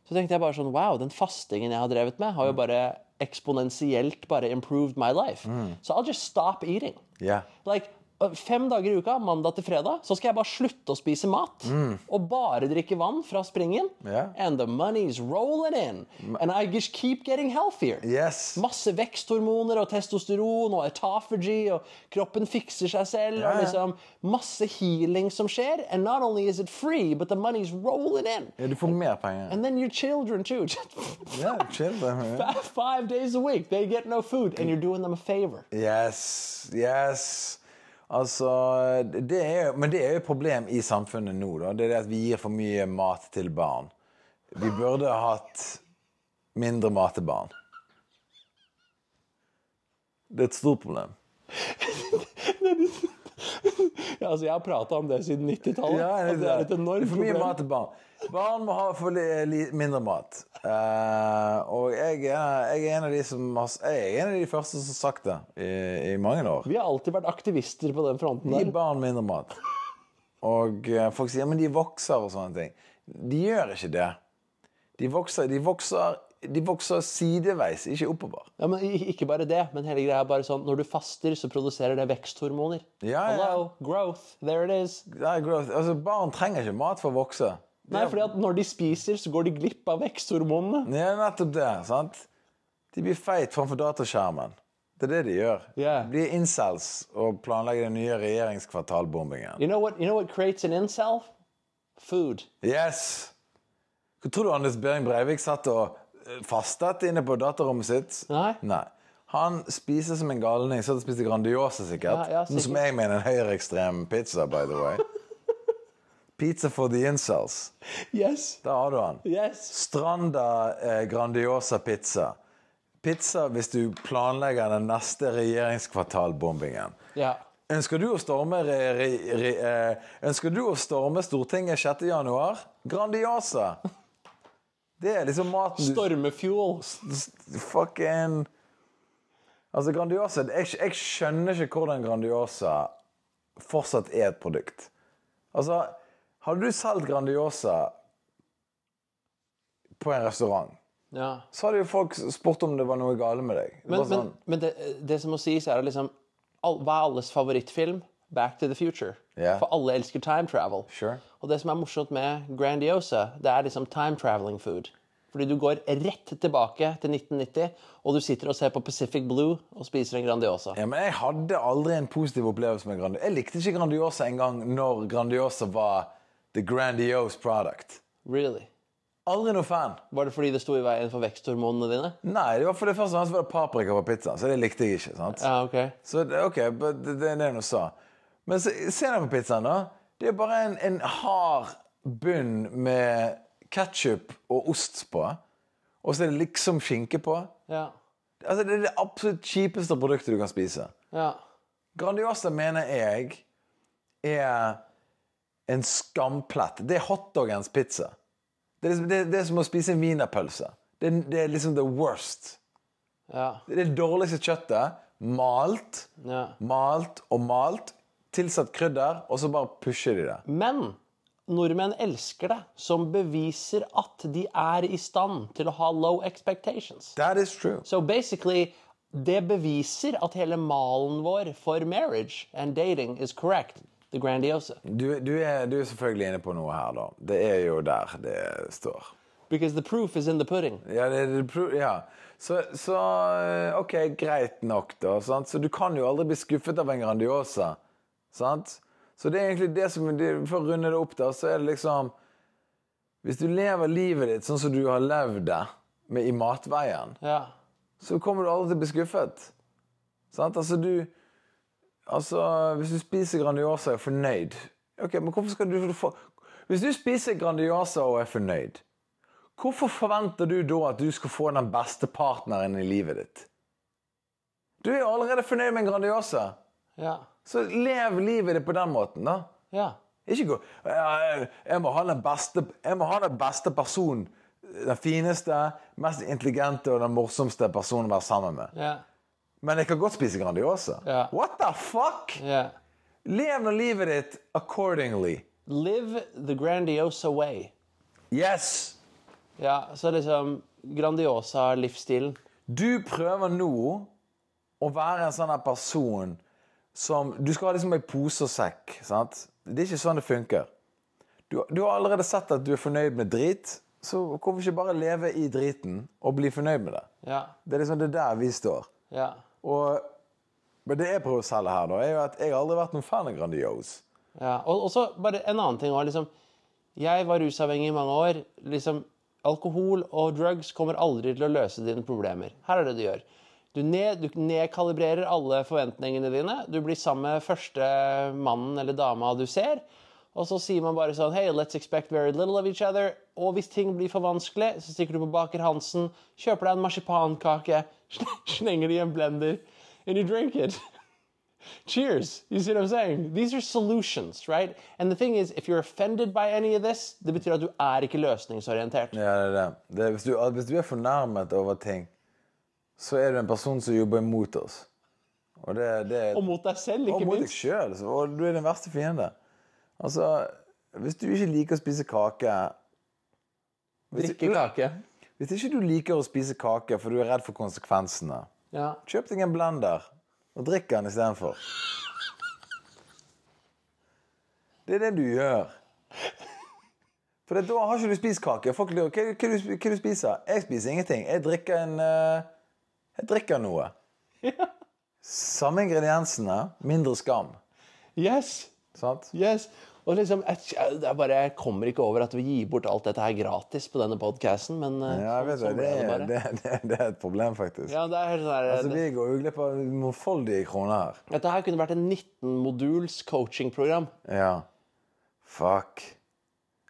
B: Så tenkte jeg bare sånn Wow, den fastingen jeg har drevet med, har jo bare eksponentielt bare improved my life. So I'll just stop eating.
A: Ja.
B: Like, øh, fem dager i uka, mandag til fredag, så skal jeg bare slutte å spise mat og bare drikke vann fra springen.
A: Mm. Ja.
B: And the money's rolling in. And I just keep getting healthier.
A: Yes.
B: Masse veksthormoner og testosteron og autophagy, og kroppen fikser seg selv.
A: Ja, ja.
B: Og liksom masse healing som skjer. And not only is it free, but the money's rolling in.
A: Ja, du får mer penger.
B: And then your children too.
A: Ja, chill. da.
B: Five- Five days a week, they get no food, and you're doing them a favor.
A: Yes. Yes. Altså det er, jo- Men det er jo et problem i samfunnet nå, da. Det er det at vi gir for mye mat til barn. Vi burde hatt mindre mat til barn. Det er et stort problem.
B: Ja, altså, jeg har prata om det siden 90-tallet.
A: Ja,
B: at det er et enormt
A: for mye
B: problem.
A: mat til barn. Barn må ha for li, li, mindre mat. Eh, og jeg er, jeg er en av de som har, s- jeg er en av de første som har sagt det i, i mange år.
B: Vi har alltid vært aktivister på den fronten
A: Gi
B: der.
A: barn mindre mat. Og eh, folk sier men de vokser og sånne ting. De gjør ikke det. De vokser, de vokser, de vokser sideveis, ikke oppover.
B: Ja, men i- Ikke bare det, men hele greia er bare sånn når du faster, så produserer det veksthormoner.
A: Ja, ja.
B: Hello, growth, there it is.
A: Det er growth. Altså, barn trenger ikke mat for å vokse.
B: Nei, fordi at når de spiser, så går de glipp av veksthormonene.
A: Det er nettopp det. sant? De blir feit framfor dataskjermen. Det er det de gjør.
B: Ja.
A: De blir incels og planlegger den nye regjeringskvartalbombingen.
B: You know what, you know what creates an incel? Food.
A: Yes! Hva tror du Anders Behring Breivik satt og eh, fastet inne på datarommet sitt?
B: Nei.
A: Han spiser som en galning. Satt og spiste Grandiosa, sikkert.
B: Ja, ja,
A: Noe som
B: sikkert.
A: jeg mener er en høyreekstrem pizza, by the way. pizza for the incels.
B: Yes.
A: Der har du han.
B: Yes.
A: Stranda eh, Grandiosa pizza. Pizza hvis du planlegger den neste regjeringskvartalbombingen.
B: Ja.
A: Ønsker du å storme, re, re, re, eh, ønsker du å storme Stortinget 6. januar? Grandiosa! Det er liksom maten du
B: Stormefuel.
A: Fucking Altså, Grandiosa jeg, jeg skjønner ikke hvordan Grandiosa fortsatt er et produkt. Altså, hadde du solgt Grandiosa på en restaurant
B: Ja.
A: så hadde jo folk spurt om det var noe gale med deg. Det
B: Men,
A: var sånn,
B: men, men det, det som må sies, er at liksom all, Hva er alles favorittfilm? Back to the future.
A: Ja.
B: For alle elsker time travel.
A: Sure.
B: Og det som er morsomt med Grandiosa, det er liksom time traveling food. Fordi du går rett tilbake til 1990, og du sitter og ser på Pacific Blue og spiser en Grandiosa.
A: ja, men jeg hadde aldri en positiv opplevelse med Grandiosa. Jeg likte ikke Grandiosa engang når Grandiosa var the grandiose product.
B: Really?
A: Aldri noe fan.
B: Var det fordi det sto i veien for veksthormonene dine?
A: Nei, det var for det første og fremst var det paprika på pizzaen, så det likte jeg ikke. sant?
B: Ja, ok.
A: Så det- OK, but det det er det hun sa. Men se, se deg på pizzaen, da. Det er bare en, en hard bunn med ketsjup og ost på. Og så er det liksom skinke på.
B: Ja.
A: Altså, det er det absolutt kjipeste produktet du kan spise.
B: ja.
A: Grandiosa mener jeg er en skamplett. Det er hotdogens pizza. Det er, liksom, det, det er som å spise en wienerpølse. Det, er- det er liksom the worst.
B: Ja.
A: Det er det dårligste kjøttet. Malt,
B: ja.
A: malt og malt. Tilsatt krydder, og så bare pusher de det.
B: Men nordmenn elsker det, som beviser at de er i stand til å ha low expectations.
A: That is true.
B: So basically, det beviser at hele malen vår for marriage and dating is correct. The Grandiosa.
A: Du, du, er, du er selvfølgelig inne på noe her, da. Det er jo der det står.
B: Because the proof is in the pudding.
A: Ja, det, det, pro- ja. Så, så eh, OK, greit nok, da. Sant? Så du kan jo aldri bli skuffet av en Grandiosa. Sant? Så det er egentlig det som det- For å runde det opp, da, så er det liksom Hvis du lever livet ditt sånn som du har levd det, med, i matveien,
B: Ja.
A: så kommer du aldri til å bli skuffet. Sant? Altså, du Altså, hvis du spiser Grandiosa og er fornøyd OK, men hvorfor skal du få Hvis du spiser Grandiosa og er fornøyd, hvorfor forventer du da at du skal få den beste partneren i livet ditt? Du er jo allerede fornøyd med en Grandiosa,
B: Ja.
A: så lev livet ditt på den måten, da.
B: Ja.
A: Ikke gå «Jeg- Jeg må ha den beste, jeg må ha den beste personen. Den fineste, mest intelligente og den morsomste personen å være sammen med.
B: Ja.
A: Men jeg kan godt spise Grandiosa.
B: Ja.
A: What the fuck?
B: ja.
A: Lev nå livet ditt accordingly.
B: Live the Grandiosa way.
A: Yes!
B: Ja, så liksom Grandiosa-livsstilen.
A: Du prøver nå å være en sånn her person som Du skal ha liksom ei pose og sekk. sant? Det er ikke sånn det funker. Du, du har allerede sett at du er fornøyd med drit, så hvorfor ikke bare leve i driten og bli fornøyd med det?
B: Ja.
A: Det er liksom det der vi står.
B: Ja.
A: Og, men det jeg prøver å selge her, da, er jo at jeg har aldri vært noen fan av Grandiose.
B: ja. Og og så bare en annen ting òg. Liksom, jeg var rusavhengig i mange år. Liksom, alkohol og drugs kommer aldri til å løse dine problemer. Her er det du gjør. Du, ned, du nedkalibrerer alle forventningene dine. Du blir sammen med første mannen eller dama du ser. Og så sier man bare sånn Hey, let's expect very little of each other. Og hvis ting blir for vanskelig, så stikker du på Baker Hansen, kjøper deg en marsipankake, slenger det i en blender, and you drink it. Cheers. You see what I'm saying? These are solutions, right? And the thing is, if you're offended by any of this, det betyr at du er ikke løsningsorientert.
A: Ja, det er det. det er, hvis, du, hvis du er fornærmet over ting, så er du en person som jobber imot oss. Og det, det
B: Og mot deg selv,
A: Og
B: ikke
A: mot deg
B: minst.
A: sjøl. Og du er den verste fiende. Altså, hvis du ikke liker å spise kake hvis,
B: Drikke kake.
A: hvis ikke du liker å spise kake for du er redd for konsekvensene,
B: Ja.
A: kjøp deg en blender og drikk den istedenfor. Det er det du gjør. For da har ikke du spist kake. Folk lurer hva, hva, du, hva du spiser Jeg spiser ingenting. Jeg drikker en eh, Jeg drikker noe. Samme ingrediensene, mindre skam.
B: Yes.
A: Sant?
B: Yes. Og liksom, jeg, jeg, jeg bare jeg kommer ikke over at vi gir bort alt dette her gratis på denne podcasten, men eh,
A: Ja, jeg vet det.
B: ble
A: Det, er-
B: bare.
A: det, det, det er et problem, faktisk.
B: Ja, det er helt sånn her,
A: Altså, vi går jo glipp av mangfoldige kroner her.
B: Dette her kunne vært en 19-moduls coachingprogram.
A: Ja. Fuck.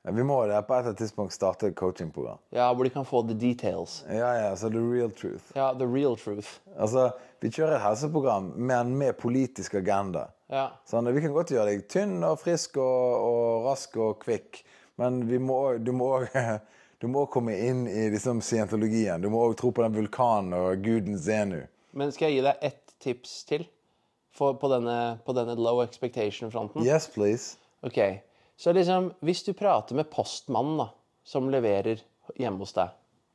A: Ja, vi må det på et eller annet tidspunkt starte et coachingprogram.
B: Ja, hvor de kan få the details.
A: Ja, ja, så the real truth.
B: Ja, the real truth.
A: Altså, Vi kjører et helseprogram, men med politisk agenda.
B: Ja.
A: Sånn, Vi kan godt gjøre deg tynn og frisk og, og rask og kvikk, men vi må, også- du må også- du må også komme inn i liksom, scientologien. Du må òg tro på den vulkanen og guden Zenu.
B: Men skal jeg gi deg ett tips til for, på, denne, på denne low expectation-fronten?
A: Yes, please.
B: Ok, Så liksom, hvis du prater med postmannen da, som leverer hjemme hos deg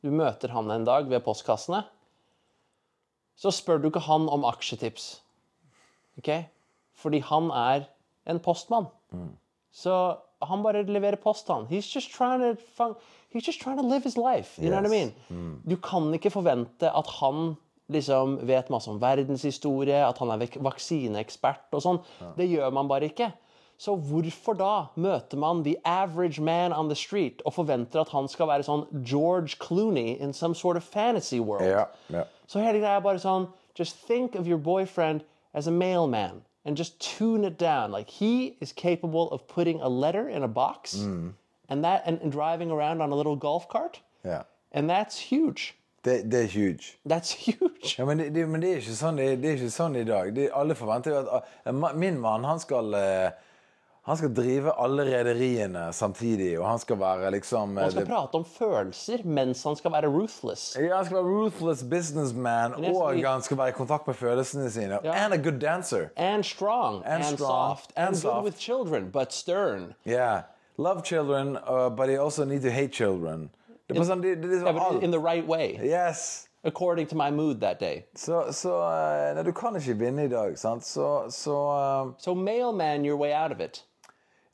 B: Du møter han en dag ved postkassene, så spør du ikke han om aksjetips. Ok? Fordi han er en postmann.
A: Mm.
B: Så han bare leverer post, han. He's just trying to, fun- he's just trying to live his life. You know what I mean?
A: Yes. Mm.
B: Du kan ikke forvente at han liksom vet masse om verdenshistorie, at han er vek- vaksineekspert og sånn. Det gjør man bare ikke. Så hvorfor da møter man the average man on the street og forventer at han skal være sånn George Clooney in some sort of fantasy world?
A: Ja, ja.
B: Så hele greia er bare sånn Just think of your boyfriend as a mailman. And just tune it down. Like he is capable of putting a letter in a box and that and, and driving around on a little golf cart.
A: ja.
B: And that's huge.
A: Det, det er huge.
B: That's huge.
A: Ja, men, det, det, men det, er ikke sånn, det, det er ikke sånn i dag. Det, alle forventer jo at ah, en ma- min mann han skal, eh, han skal drive alle rederiene samtidig, og han skal være liksom eh,
B: Han skal
A: det-
B: prate om følelser mens han skal være ruthless.
A: Ja, han skal være ruthless businessman,
B: er så
A: og
B: mye-
A: han skal være i kontakt med følelsene sine. And a good dancer.
B: And strong. And,
A: strong,
B: soft.
A: and
B: And, good
A: soft.
B: with children, but stern.
A: Yeah. Love children, uh, but he also need to hate children. Det er bare sånn, det, det er
B: Yeah,
A: liksom
B: but in- in
A: alt.
B: the right way.
A: Yes.
B: According to my mood that day.
A: Så, så eh, nei, du kan ikke vinne i dag, sant? Så, så eh,
B: So mailman your way out of it.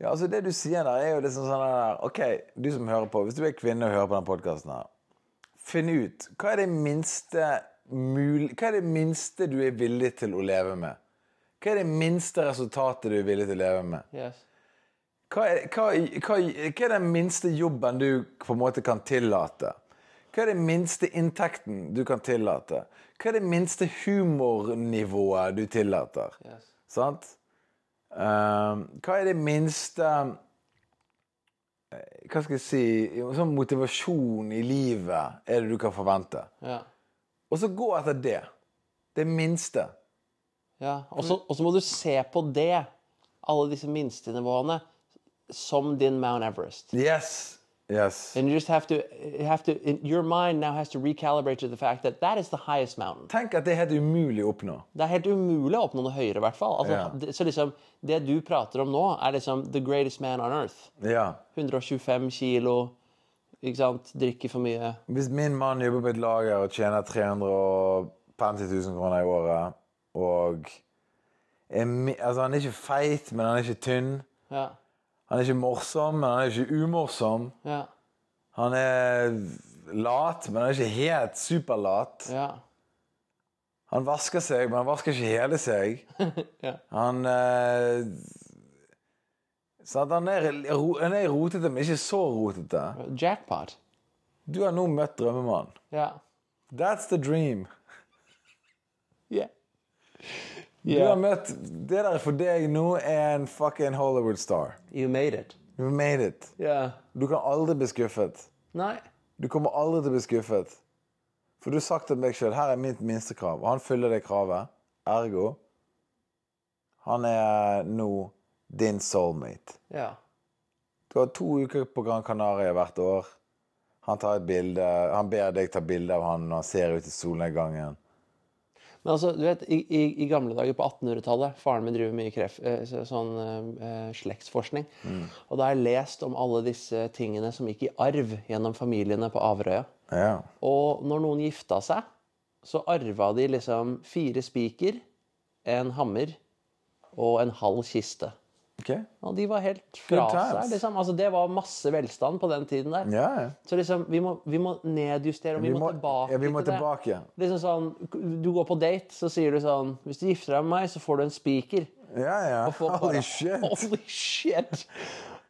A: Ja, altså Det du sier der, er jo liksom sånn der OK, du som hører på. Hvis du er kvinne og hører på den podkasten her, finn ut hva er det minste mul Hva er det minste du er villig til å leve med? Hva er det minste resultatet du er villig til å leve med?
B: Yes.
A: Hva er, hva, hva, hva er den minste jobben du på en måte kan tillate? Hva er den minste inntekten du kan tillate? Hva er det minste humornivået du tillater?
B: Yes.
A: Sant? Ehm, hva er det minste eh, Hva skal jeg si Sånn motivasjon i livet er det du kan forvente.
B: Yeah.
A: Og så gå etter det. Det minste.
B: Ja, og så, og så må du se på det, alle disse minstenivåene, som din Mount Everest.
A: Yes. Yes.
B: And you just have to, you have to in, your mind now has to recalibrate to the fact that that is the highest mountain.
A: Tenk at det er helt umulig å oppnå.
B: Det er helt umulig å oppnå noe høyere, i hvert fall. Altså,
A: Ja.
B: det, så liksom, det du prater om nå, er liksom the greatest man on earth.
A: Ja.
B: 125 kilo, ikke sant, drikker for mye.
A: Hvis min mann jobber på et lager og tjener 350 000 kroner i året, og er, mi- altså, han er ikke feit, men han er ikke tynn.
B: Ja.
A: Han er ikke morsom, men han er ikke umorsom.
B: Ja.
A: Han er lat, men han er ikke helt superlat.
B: Ja.
A: Han vasker seg, men han vasker ikke hele seg.
B: Ja.
A: Han eh, sant? Han er, ro- han er rotete, men ikke så rotete.
B: Jackpot.
A: Du har nå møtt drømmemannen.
B: Ja.
A: That's the dream.
B: Yeah.
A: Du har
B: Yeah.
A: møtt Det der for deg nå er en fucking Hollywood star.
B: You made it.
A: You made it.
B: Yeah.
A: Du kan aldri bli skuffet.
B: Nei.
A: Du kommer aldri til å bli skuffet. For du har sagt til meg sjøl her er mitt minstekrav, og han fyller det kravet. Ergo han er nå din soulmate.
B: Ja.
A: Du har to uker på Gran Canaria hvert år. Han, tar et bilde, han ber deg ta bilde av han når han ser ut i solnedgangen.
B: Men altså, du vet, i, i, i gamle dager på 1800-tallet Faren min driver mye kreft, eh, så- sånn eh, eh, slektsforskning.
A: Mm.
B: Og da har jeg lest om alle disse tingene som gikk i arv gjennom familiene på Averøya.
A: Ja.
B: Og når noen gifta seg, så arva de liksom fire spiker, en hammer og en halv kiste.
A: Ok?
B: Og de var helt fra
A: Good times.
B: seg. Liksom. Altså, det var masse velstand på den tiden der.
A: Ja, ja.
B: Så liksom, vi må, vi må nedjustere, og vi, må, tilbake
A: ja, vi må
B: til
A: tilbake.
B: det. Liksom sånn, du går på date, så sier du sånn Hvis du gifter deg med meg, så får du en spiker.
A: Ja, ja.
B: Og folk
A: Holy
B: bare,
A: shit.
B: Holy shit!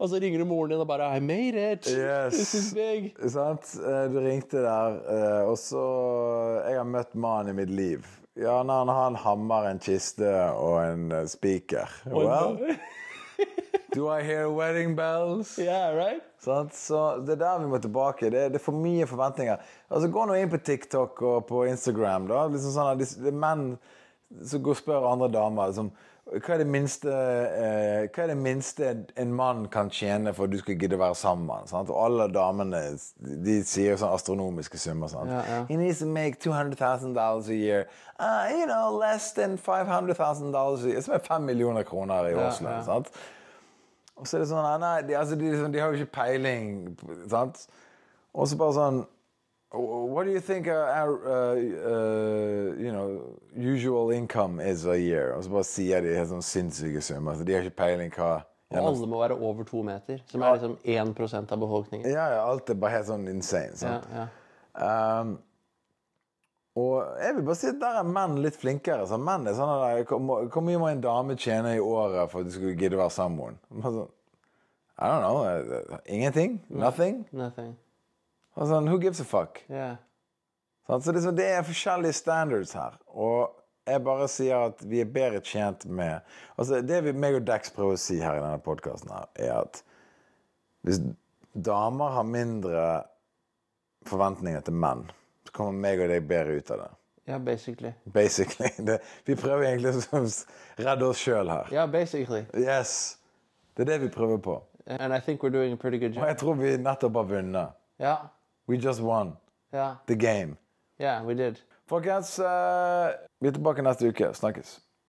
B: Og så ringer du moren din og bare I made it!
A: Yes.
B: This is big!
A: Sant? Eh, Du ringte der, eh, og så eh, Jeg har møtt mannen i mitt liv. Ja, nei, han har en hammer, en kiste og en eh, spiker. Well, do I hear wedding bells?
B: Yeah, right?
A: Sant? Så det er der vi må tilbake. Det er, det er for mye forventninger. Altså, Gå nå inn på TikTok og på Instagram. da. Liksom sånn at de, det er menn som går og spør andre damer liksom, hva er det minste eh, hva er det minste en mann kan tjene for at du skal gidde å være sammen med han? sant? Og alle damene de sier sånn astronomiske summer. sant?
B: Ja, ja.
A: He needs to make $200,000 a year. Uh, you know, less than $500,000 a year. Som er fem millioner kroner i årslønn.
B: ja.
A: sant? Og så er det sånn ah, Nei, de, altså, de, liksom, de har jo ikke peiling, sant? Og så bare sånn What do you think our, our uh, uh, you know, usual income is a year? Og så bare sier de helt sånn sinnssyke summer. Altså, de har ikke peiling hva
B: Og alle må være over to meter, som er liksom 1 av befolkningen.
A: Ja, ja, alt er bare helt sånn insane.
B: Ja,
A: Sant?
B: ja.
A: Um, og jeg vil bare si at der er menn litt flinkere. Så menn er sånn der, Hvor må- hvor mye må en dame tjene i året for at du skulle gidde å være sammen med henne? Bare sånn, I don't know. eh, Ingenting? Nothing?
B: Nothing.
A: Og sånn, who gives a fuck?
B: Yeah.
A: Sant? Så liksom, det er forskjellige standards her. Og jeg bare sier at vi er bedre tjent med Altså, Det vi meg og Dex prøver å si her i denne podkasten, er at hvis damer har mindre forventninger til menn, så kommer meg og deg bedre ut av det.
B: Yeah, basically.
A: Basically. Det, vi prøver egentlig å sånn redde oss sjøl her.
B: Yeah, basically.
A: Yes. Det er det vi prøver på.
B: And I think we're doing a pretty good
A: Og
B: job.
A: jeg tror vi nettopp har vunnet.
B: Yeah,
A: We just won
B: yeah,
A: the game.
B: yeah, we did.
A: Folkens, eh, vi er tilbake neste uke. Snakkes.